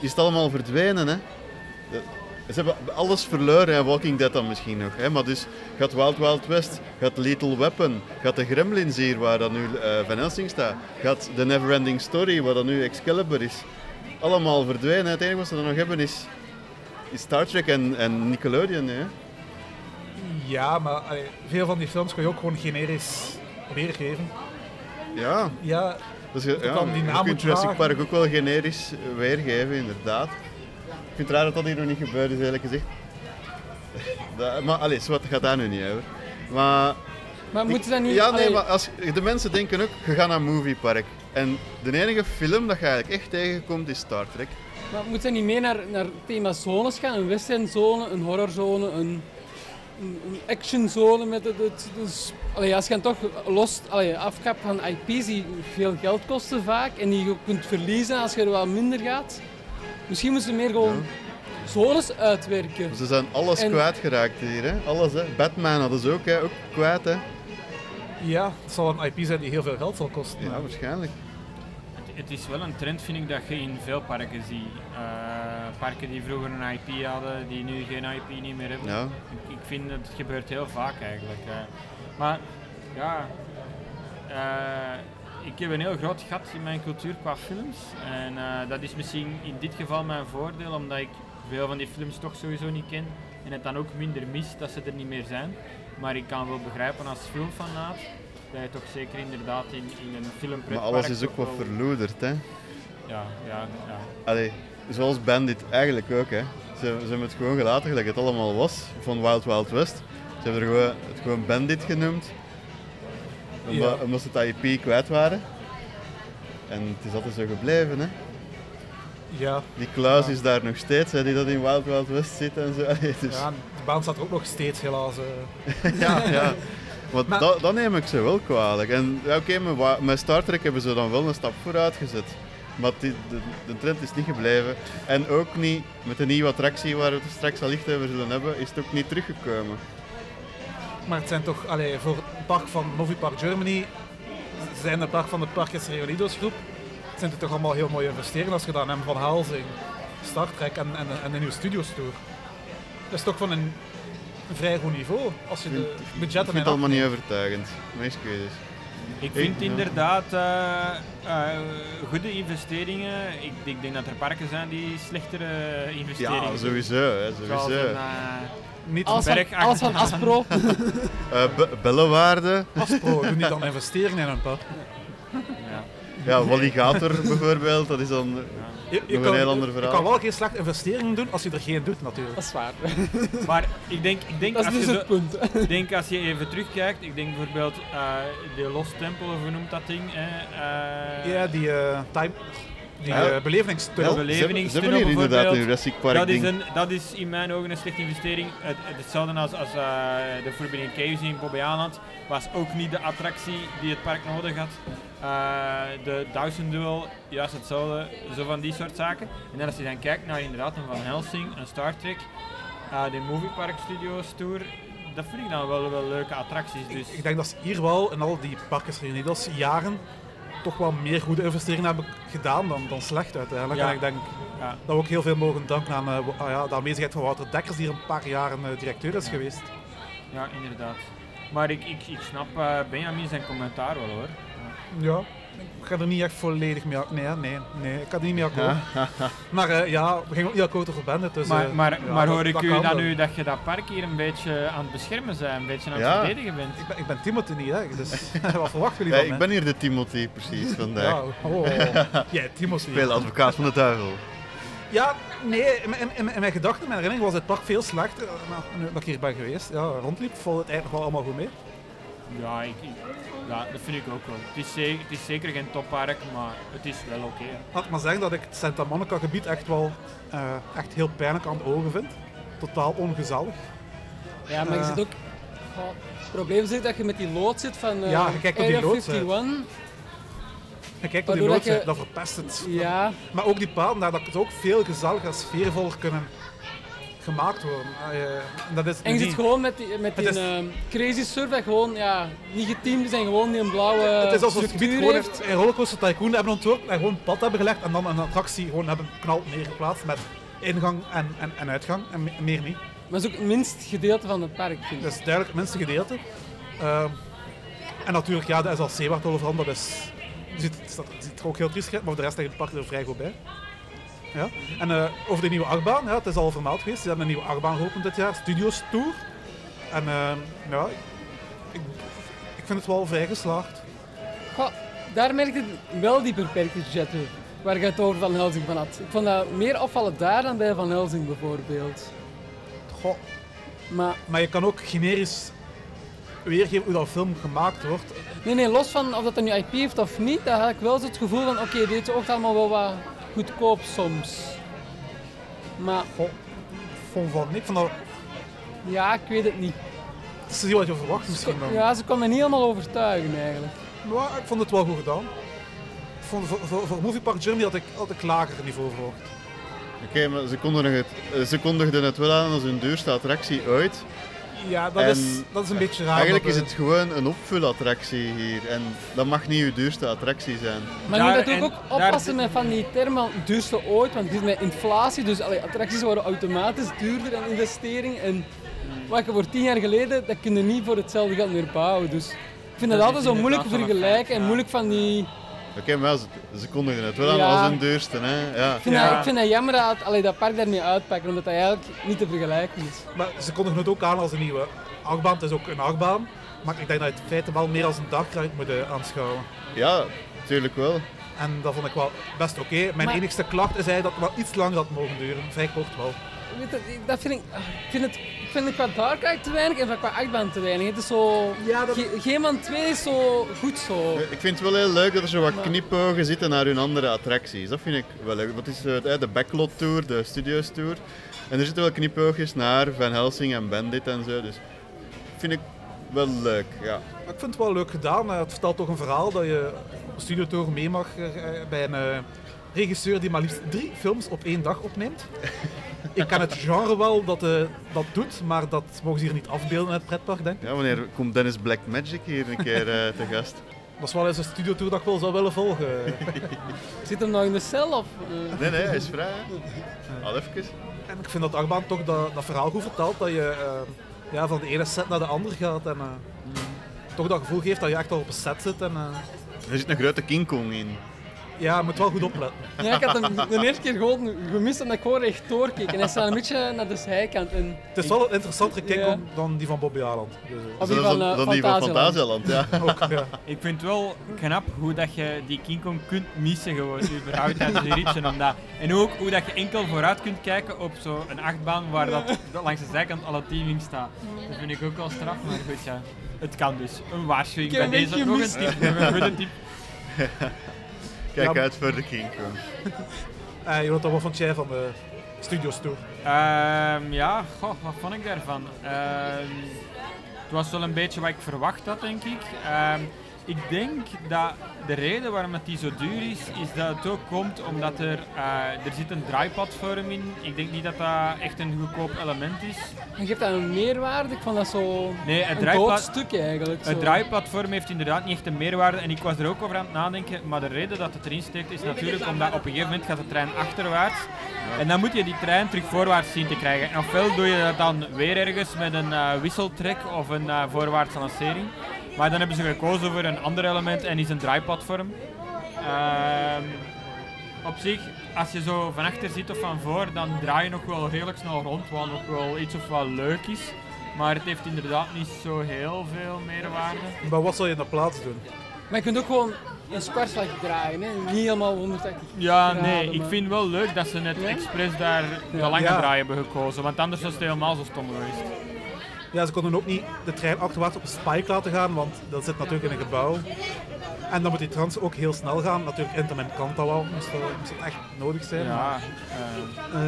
[SPEAKER 3] is het allemaal verdwenen. Hè? De- Ze hebben alles verloren en Walking Dead dan misschien nog. Hè? Maar dus gaat Wild Wild West, gaat Little Weapon, gaat de Gremlins hier waar dan nu eh, Van Helsing staat, gaat de Neverending Story waar dan nu Excalibur is. Allemaal verdwenen. Het enige wat ze dan nog hebben is, is Star Trek en, en Nickelodeon. Hè?
[SPEAKER 2] Ja, maar allee, veel van die films kun je ook gewoon generisch weergeven.
[SPEAKER 3] Ja,
[SPEAKER 2] Ja,
[SPEAKER 3] Dus je,
[SPEAKER 2] Dat
[SPEAKER 3] ja,
[SPEAKER 2] dan die
[SPEAKER 3] je
[SPEAKER 2] naam
[SPEAKER 3] kunt
[SPEAKER 2] moet
[SPEAKER 3] Jurassic
[SPEAKER 2] dragen.
[SPEAKER 3] Park ook wel generisch weergeven, inderdaad. Ik vind het raar dat dat hier nog niet gebeurd is, eerlijk gezegd. Dat- maar allez, wat gaat daar nu niet over? Maar,
[SPEAKER 5] Maar moeten ze dat nu...
[SPEAKER 3] ja, nee,
[SPEAKER 5] allee,
[SPEAKER 3] maar als, de mensen denken ook, je gaat naar een moviepark. En de enige film dat je eigenlijk echt tegenkomt is Star Trek.
[SPEAKER 5] maar moeten ze niet meer naar, naar themazones gaan? Een westerenzone, een horrorzone, een, een, een actionzone met het... het, dus, allee, als je dan toch los allee, afkapt van IP's die veel geld kosten vaak en die je kunt verliezen als je er wat minder gaat, Misschien moeten ze meer gewoon zones uitwerken.
[SPEAKER 3] Dus Ze zijn alles
[SPEAKER 5] En-
[SPEAKER 3] kwijtgeraakt hier, hè. Alles, hè. Batman hadden ze ook, hè. Ook kwijt, hè.
[SPEAKER 2] Ja, het zal een IP zijn die heel veel geld zal kosten.
[SPEAKER 3] Ja, waarschijnlijk.
[SPEAKER 4] Het, het is wel een trend, vind ik, dat je in veel parken ziet. Eh, parken die vroeger een IP hadden, die nu geen IP niet meer hebben.
[SPEAKER 3] Ja.
[SPEAKER 4] Ik, ik vind dat het gebeurt heel vaak eigenlijk. eh. Maar ja, eh, ik heb een heel groot gat in mijn cultuur qua films. En eh, dat is misschien in dit geval mijn voordeel, omdat ik veel van die films toch sowieso niet ken. En het dan ook minder mis dat ze er niet meer zijn. Maar ik kan wel begrijpen als filmfanaat dat je toch zeker inderdaad in, in een filmpretpark...
[SPEAKER 3] Maar alles is ook
[SPEAKER 4] toch
[SPEAKER 3] wat
[SPEAKER 4] wel-
[SPEAKER 3] verloederd, hè.
[SPEAKER 4] ja, ja, ja.
[SPEAKER 3] Allee, zoals Bandit eigenlijk ook, hè. Ze, ze hebben het gewoon gelaten gelijk het allemaal was, van Wild Wild West. Ze hebben er gewoon, het gewoon Bandit genoemd, omdat,
[SPEAKER 2] Ja.
[SPEAKER 3] omdat ze het IP kwijt waren. En het is altijd zo gebleven, hè.
[SPEAKER 2] Ja,
[SPEAKER 3] Die Klaus is daar nog steeds, hè, die dat in Wild Wild West zit en zo. Allee, dus,
[SPEAKER 2] ja,
[SPEAKER 3] ja,
[SPEAKER 2] de baan staat er ook nog steeds helaas. eh.
[SPEAKER 3] ja. Want
[SPEAKER 2] Maar-
[SPEAKER 3] dat, dat neem ik ze wel kwalijk. En ja, oké, met, wa- met Star Trek hebben ze dan wel een stap vooruit gezet. Maar die, de, de trend is niet gebleven. En ook niet met de nieuwe attractie waar we het straks al licht over zullen hebben, is het ook niet teruggekomen.
[SPEAKER 2] Maar het zijn toch, allee, voor het park van Movie Park Germany, z- zijn de park van de Parkes Reunidos groep, zijn het toch allemaal heel mooie investeringen als gedaan hebben van Haalzing, Star Trek en, en, en de nieuwe Studios Tour. Dat is toch van een vrij goed niveau als je de
[SPEAKER 3] Ik
[SPEAKER 2] budgetten
[SPEAKER 3] vind
[SPEAKER 2] en
[SPEAKER 3] het allemaal niet overtuigend. Mijn excuses.
[SPEAKER 4] Ik vind
[SPEAKER 3] ja.
[SPEAKER 4] inderdaad eh, eh, goede investeringen. Ik, ik denk dat er parken zijn die slechtere investeringen
[SPEAKER 3] Ja,
[SPEAKER 4] doen.
[SPEAKER 3] sowieso. Hè,
[SPEAKER 4] Zoals een,
[SPEAKER 3] sowieso.
[SPEAKER 4] eh,
[SPEAKER 2] niet
[SPEAKER 5] Alles van,
[SPEAKER 4] Berg achter-
[SPEAKER 5] alles van Aspro.
[SPEAKER 3] Eh, be- bellenwaarde.
[SPEAKER 2] Aspro, doe niet aan investeringen in een park.
[SPEAKER 4] ja.
[SPEAKER 3] Ja, Walligator bijvoorbeeld, dat is dan...
[SPEAKER 2] Je,
[SPEAKER 3] een heel ander verhaal.
[SPEAKER 2] je kan wel geen slechte investeringen doen als je er geen doet natuurlijk.
[SPEAKER 5] Dat is waar.
[SPEAKER 4] Maar ik denk, ik denk
[SPEAKER 5] Dat is
[SPEAKER 4] als
[SPEAKER 5] dus
[SPEAKER 4] je
[SPEAKER 5] het
[SPEAKER 4] zo-
[SPEAKER 5] punt.
[SPEAKER 4] ik denk als je even terugkijkt, ik denk bijvoorbeeld eh, de Lost Temple, of hoe noemt dat ding? hè, eh,
[SPEAKER 2] Ja, die eh time, die
[SPEAKER 3] Ja.
[SPEAKER 2] eh, belevingstunnel.
[SPEAKER 3] Ja, ze- ze,
[SPEAKER 4] Belevingstunnel
[SPEAKER 3] hebben hier inderdaad een
[SPEAKER 4] bijvoorbeeld.
[SPEAKER 3] Jurassic Park
[SPEAKER 4] dat, is
[SPEAKER 3] ding.
[SPEAKER 4] een, dat is in mijn ogen een slechte investering. Het, het- hetzelfde als, als eh, de Forbidden Caves in Bobbejaanland. Was ook niet de attractie die het park nodig had. Eh, de Thousand Duel, juist hetzelfde. Zo van die soort zaken. En dan als je dan kijkt naar inderdaad een Van Helsing, een Star Trek. eh, de Movie Park Studios Tour. Dat vind ik dan wel, wel leuke attracties. Dus
[SPEAKER 2] Ik denk dat ze hier wel in al die Parkes Reunidos jaren toch wel meer goede investeringen hebben gedaan dan, dan slecht uiteindelijk.
[SPEAKER 4] Ja.
[SPEAKER 2] En ik denk
[SPEAKER 4] Ja.
[SPEAKER 2] dat we ook heel veel mogen danken aan eh, wa- ah ja, de aanwezigheid van Wouter Dekkers, die hier een paar jaren eh, directeur is
[SPEAKER 4] Ja.
[SPEAKER 2] geweest.
[SPEAKER 4] ja, inderdaad. Maar ik, ik, ik snap eh, Benjamin zijn commentaar wel hoor.
[SPEAKER 2] Ja. Ik ga er niet echt volledig mee akkoord. Nee, hè, nee, nee, ik ga er niet mee akkoord. Maar eh, ja, we gingen ook niet akkoord over Bandit. Dus,
[SPEAKER 4] Maar,
[SPEAKER 2] eh,
[SPEAKER 4] maar,
[SPEAKER 2] ja,
[SPEAKER 4] maar
[SPEAKER 2] dat-
[SPEAKER 4] hoor ik
[SPEAKER 2] dat
[SPEAKER 4] u
[SPEAKER 2] kan
[SPEAKER 4] dan
[SPEAKER 2] wel.
[SPEAKER 4] nu dat je dat park hier een beetje aan het beschermen bent, een beetje aan het
[SPEAKER 3] Ja.
[SPEAKER 4] verdedigen bent?
[SPEAKER 2] Ik ben, ik ben Timothy niet, hè, dus wat verwachten
[SPEAKER 3] Ja,
[SPEAKER 2] jullie
[SPEAKER 3] ik
[SPEAKER 2] van mij?
[SPEAKER 3] ben hier de Timothy precies vandaag.
[SPEAKER 2] Ja, oh. Jij, Timothy.
[SPEAKER 3] Ik speel advocaat van de duivel.
[SPEAKER 2] Ja, nee, in, mijn- in, mijn- in mijn gedachten, in mijn herinnering was het park veel slechter. eh, Maar nu dat ik hier ben geweest, ja, rondliep, valt het eigenlijk wel allemaal goed mee.
[SPEAKER 4] Ja, ik, ik- ja, dat vind ik ook wel. Het is, zeker, het is zeker geen toppark, maar het is wel oké. hè.
[SPEAKER 2] Laat maar zeggen dat ik het Santa Monica gebied echt wel eh, echt heel pijnlijk aan de ogen vind. Totaal ongezellig.
[SPEAKER 5] Ja, maar je
[SPEAKER 2] Eh.
[SPEAKER 5] zit ook... Goh, het probleem is ook dat je met die lood zit van eh,
[SPEAKER 2] Ja, je kijkt op die
[SPEAKER 5] Area
[SPEAKER 2] loods, hè.
[SPEAKER 5] 51.
[SPEAKER 2] En kijk naar die
[SPEAKER 5] Waardoor dat
[SPEAKER 2] loodsen,
[SPEAKER 5] je-
[SPEAKER 2] dat verpest het.
[SPEAKER 5] Ja,
[SPEAKER 2] Maar ook die paden daar, dat het ook veel gezelliger en sfeervoller kunnen gemaakt worden. Ah, eh, en dat is
[SPEAKER 5] en je
[SPEAKER 2] niet.
[SPEAKER 5] zit gewoon met die, met die
[SPEAKER 2] Het is-
[SPEAKER 5] ehm, crazy surf dat gewoon ja, niet geteamd is en gewoon die een blauwe
[SPEAKER 2] het is alsof het gebied
[SPEAKER 5] structuur
[SPEAKER 2] gewoon
[SPEAKER 5] heeft.
[SPEAKER 2] een rollercoaster tycoon hebben ontworpen en gewoon een pad hebben gelegd en dan een attractie gewoon hebben knal neergeplaatst met ingang en, en, en uitgang en me- meer niet.
[SPEAKER 5] Maar het is ook het minst gedeelte van het park, vind ik.
[SPEAKER 2] Dat is duidelijk het minste gedeelte. Ehm, en natuurlijk, ja, de SLC waar het over handelt, dat is... je Ziet, het staat- het ziet er ook heel triest uit, maar voor de rest ligt het park er vrij goed bij. Ja. En eh, over de nieuwe achtbaan, ja, het is al vermeld geweest. Ze hebben een nieuwe achtbaan geopend dit jaar, Studios Tour. En ehm, ja, ik, ik vind het wel vrij geslaagd.
[SPEAKER 5] Goh, daar merkte ik wel die beperkte budgetten waar je het over Van Helsing van had. Ik vond dat meer opvallen daar dan bij Van Helsing bijvoorbeeld.
[SPEAKER 2] Goh,
[SPEAKER 5] Maar
[SPEAKER 2] Maar je kan ook generisch weergeven hoe dat film gemaakt wordt.
[SPEAKER 5] nee, nee, los van of dat een IP heeft of niet, daar had ik wel zo het gevoel van oké, dit oogt allemaal wel wat goedkoop soms. Maar
[SPEAKER 2] Goh, ik vond van niks. Van dat,
[SPEAKER 5] ja, ik weet het niet.
[SPEAKER 2] het is niet wat je verwacht misschien dan.
[SPEAKER 5] Ja, ze kon me niet helemaal overtuigen eigenlijk.
[SPEAKER 2] Maar Nou, ik vond het wel goed gedaan. Ik vond, voor, voor, voor Movie Park Germany had ik, had ik lager niveau verwacht.
[SPEAKER 3] maar ze kondigden, het, eh, ze kondigden het wel aan als hun duurste attractie uit.
[SPEAKER 2] Ja, dat,
[SPEAKER 3] En-
[SPEAKER 2] is, dat is een beetje raar.
[SPEAKER 3] Eigenlijk is
[SPEAKER 2] dat,
[SPEAKER 3] het gewoon een opvulattractie hier. En dat mag niet uw duurste attractie zijn.
[SPEAKER 5] Maar je moet
[SPEAKER 4] Daar
[SPEAKER 5] natuurlijk
[SPEAKER 4] en-
[SPEAKER 5] ook oppassen met van die termen duurste ooit, want het is met inflatie, dus allee, attracties worden automatisch duurder en investering. En wat je voor tien jaar geleden, dat kun je niet voor hetzelfde geld meer bouwen. Dus ik vind
[SPEAKER 4] Dat
[SPEAKER 5] het
[SPEAKER 4] is
[SPEAKER 5] altijd zo moeilijk
[SPEAKER 4] inderdaad wel een
[SPEAKER 5] vergelijken
[SPEAKER 4] feit,
[SPEAKER 5] en
[SPEAKER 4] ja.
[SPEAKER 5] moeilijk van die...
[SPEAKER 3] Oké, maar ze, ze kondigden het wel aan
[SPEAKER 5] Ja.
[SPEAKER 3] als hun duurste. Hè? Ja.
[SPEAKER 5] Ik vind,
[SPEAKER 4] Ja.
[SPEAKER 5] dat, ik vind dat jammer dat, allee, dat park daarmee uitpakken, omdat dat eigenlijk niet te vergelijken is.
[SPEAKER 2] eh, Maar ze kondigen het ook aan als een nieuwe achtbaan. Het is ook een achtbaan. Maar ik denk dat je het feite wel meer als een dagride moet eh, aanschouwen.
[SPEAKER 3] ja, tuurlijk wel.
[SPEAKER 2] En dat vond ik wel best oké. Mijn
[SPEAKER 5] Maar-
[SPEAKER 2] enigste klacht is eigenlijk dat het wel iets langer had mogen duren. Vrij kort wel.
[SPEAKER 5] Weet je, ik- dat vind ik, ah, ik vind het, ik vind het qua dark ride te weinig en qua achtbaan te weinig. Het is zo...
[SPEAKER 2] Ja, dat-
[SPEAKER 5] Ge- geen van twee is zo goed zo.
[SPEAKER 3] Ik vind het wel heel leuk dat er zo wat knipogen zitten naar hun andere attracties. Dat vind ik wel leuk. Dat is eh, de Backlot Tour, de Studios Tour. En er zitten wel knipoogjes naar Van Helsing en Bandit en zo. Dus vind ik wel leuk, ja.
[SPEAKER 2] Maar ik vind het wel leuk gedaan. Eh, Het vertelt toch een verhaal dat je op studiotour mee mag eh, eh, bij een eh, regisseur die maar liefst drie films op één dag opneemt. ik ken het genre wel dat eh, dat doet, maar dat mogen ze hier niet afbeelden in het pretpark, denk ik.
[SPEAKER 3] Ja, wanneer komt Dennis Black Magic hier een keer eh, te gast?
[SPEAKER 2] Dat is wel eens een studiotour dat ik wel zou willen volgen.
[SPEAKER 5] Zit hem nou in de cel of... eh?
[SPEAKER 3] Nee, nee, hij is vrij. hè. Al even.
[SPEAKER 2] en ik vind dat Achtbaan toch dat, dat verhaal goed vertelt, dat je eh, ja, van de ene set naar de andere gaat en eh, toch dat gevoel geeft dat je echt al op een set zit. En, eh,
[SPEAKER 3] Er zit een grote King Kong in.
[SPEAKER 2] ja, je moet wel goed opletten.
[SPEAKER 5] Ja, ik had hem de eerste keer gewoon gemist omdat ik gewoon echt doorkeek. En hij staat een beetje naar de zijkant. En
[SPEAKER 2] Het is wel een interessantere kijk
[SPEAKER 5] Ja.
[SPEAKER 2] dan die van Bobby Aland. Dus, eh,
[SPEAKER 5] Of die
[SPEAKER 3] Zelfs
[SPEAKER 5] van,
[SPEAKER 3] dan-
[SPEAKER 5] eh,
[SPEAKER 3] dan die van
[SPEAKER 5] Fantasieland.
[SPEAKER 3] Fantasieland, ja.
[SPEAKER 2] ook, ja.
[SPEAKER 4] Ik vind het wel knap hoe dat je die King Kong kunt missen gewoon, überhaupt tijdens een ritje. Omdat, en ook hoe dat je enkel vooruit kunt kijken op zo'n achtbaan waar dat, dat langs de zijkant alle teaming staat. Dat vind ik ook wel straf, maar goed ja. Het kan dus. Een waarschuwing
[SPEAKER 5] Ik heb
[SPEAKER 4] bij
[SPEAKER 5] een
[SPEAKER 4] deze.
[SPEAKER 5] beetje
[SPEAKER 4] Nog een
[SPEAKER 5] gemist.
[SPEAKER 4] tip, nog een goede tip.
[SPEAKER 3] Kijk
[SPEAKER 2] Ja.
[SPEAKER 3] uit voor de King Kong.
[SPEAKER 2] Eh, Jonathan, wat vond jij van de studio's toe?
[SPEAKER 4] Ehm, ja, goh, wat vond ik daarvan? Ehm, het was wel een beetje wat ik verwacht had, denk ik. Ehm, ik denk dat de reden waarom het die zo duur is, is dat het ook komt omdat er, eh, er zit een draaiplatform in. Ik denk niet dat dat echt een goedkoop element is.
[SPEAKER 5] je geeft dat een meerwaarde. Ik vond dat zo...
[SPEAKER 4] Nee, het,
[SPEAKER 5] Een
[SPEAKER 4] draaipla-
[SPEAKER 5] dood stuk eigenlijk.
[SPEAKER 4] het
[SPEAKER 5] zo.
[SPEAKER 4] draaiplatform heeft inderdaad niet echt een meerwaarde en ik was er ook over aan het nadenken. Maar de reden dat het erin steekt is natuurlijk omdat op een gegeven moment gaat de trein achterwaarts. En dan moet je die trein terug voorwaarts zien te krijgen. En ofwel doe je dat dan weer ergens met een eh, wisseltrek of een eh, voorwaartse lancering. Maar dan hebben ze gekozen voor een ander element en is een draaiplatform. Ehm, op zich, als je zo van achter zit of van voor, dan draai je nog wel redelijk snel rond, wat nog wel iets of wel leuk is. Maar het heeft inderdaad niet zo heel veel meerwaarde.
[SPEAKER 2] Maar wat zal je in de plaats doen?
[SPEAKER 5] Maar je kunt ook gewoon een sparslag draaien. Hè. Niet helemaal 180
[SPEAKER 4] Ja,
[SPEAKER 5] graden,
[SPEAKER 4] nee, ik
[SPEAKER 5] maar-
[SPEAKER 4] vind wel leuk dat ze net
[SPEAKER 5] Ja?
[SPEAKER 4] expres daar de lange
[SPEAKER 2] Ja.
[SPEAKER 4] draai hebben gekozen, want anders was het helemaal zo stom geweest.
[SPEAKER 2] Ja, ze konden ook niet de trein achterwaarts op een spike laten gaan, want dat zit natuurlijk in een gebouw. En dan moet die trans ook heel snel gaan. Natuurlijk, internet kan dat wel, moest dat, moest dat echt nodig zijn.
[SPEAKER 4] Ja, Ehm.
[SPEAKER 2] maar,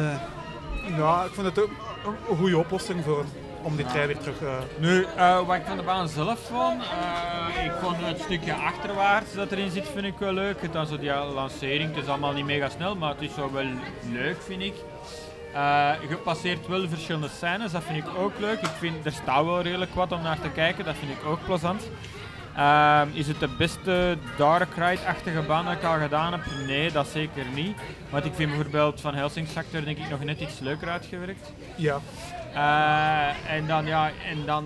[SPEAKER 2] eh, ja ik vind het ook een- een goede oplossing voor, om die trein weer terug... eh,
[SPEAKER 4] Nu, eh, wat ik van de baan zelf vond, eh, ik vond het stukje achterwaarts dat erin zit, vind ik wel leuk. Het dan zo die lancering, het is allemaal niet mega snel, maar het is zo wel leuk, vind ik. Eh, je passeert wel verschillende scènes, dat vind ik ook leuk. Ik vind, er staat wel redelijk wat om naar te kijken, dat vind ik ook plezant. Ehm, is het de beste Dark Ride-achtige baan dat ik al gedaan heb? Nee, dat zeker niet. Want ik vind bijvoorbeeld Van Helsing Sector denk ik nog net iets leuker uitgewerkt.
[SPEAKER 2] ja.
[SPEAKER 4] Eh, en dan, ja, en dan,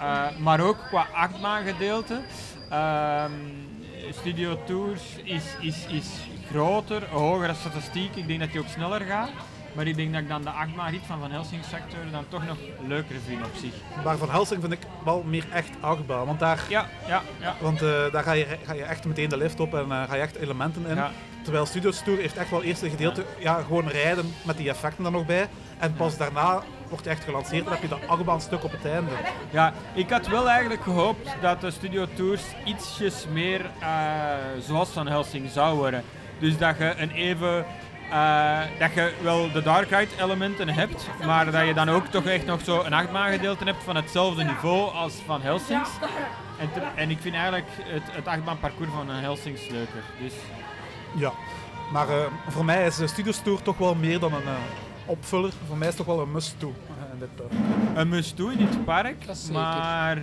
[SPEAKER 4] eh, maar ook qua achtbaangedeelte. Ehm Studio Tours is, is, is groter, hogere statistiek. Ik denk dat die ook sneller gaat. Maar ik denk dat ik dan de achtbaanrit van Van Helsing Sector dan toch nog leuker vind op zich.
[SPEAKER 2] Maar Van Helsing vind ik wel meer echt achtbaan, want daar...
[SPEAKER 4] Ja, ja, ja.
[SPEAKER 2] Want eh, daar ga je, ga je echt meteen de lift op en eh, ga je echt elementen in.
[SPEAKER 4] ja.
[SPEAKER 2] Terwijl Studios Tour heeft echt wel eerst een gedeelte, ja. gewoon rijden met die effecten er nog bij. En pas daarna wordt je echt gelanceerd en heb je dat achtbaanstuk op het einde.
[SPEAKER 4] Ja, ik had wel eigenlijk gehoopt dat de Studio Tours ietsjes meer eh, zoals Van Helsing zou worden. Dus dat je een even... eh, dat je wel de Dark Ride elementen hebt, maar dat je dan ook toch echt nog zo een achtbaan gedeelte hebt van hetzelfde niveau als Van Helsings. En, te- en ik vind eigenlijk het, het achtbaanparcours van Van Helsings leuker. Dus
[SPEAKER 2] Ja. Maar eh, voor mij is de Studios Tour toch wel meer dan een eh, opvuller. Voor mij is het toch wel een must-to. eh, in dit, eh.
[SPEAKER 4] Een must do in dit park,
[SPEAKER 5] Dat is zeker.
[SPEAKER 4] maar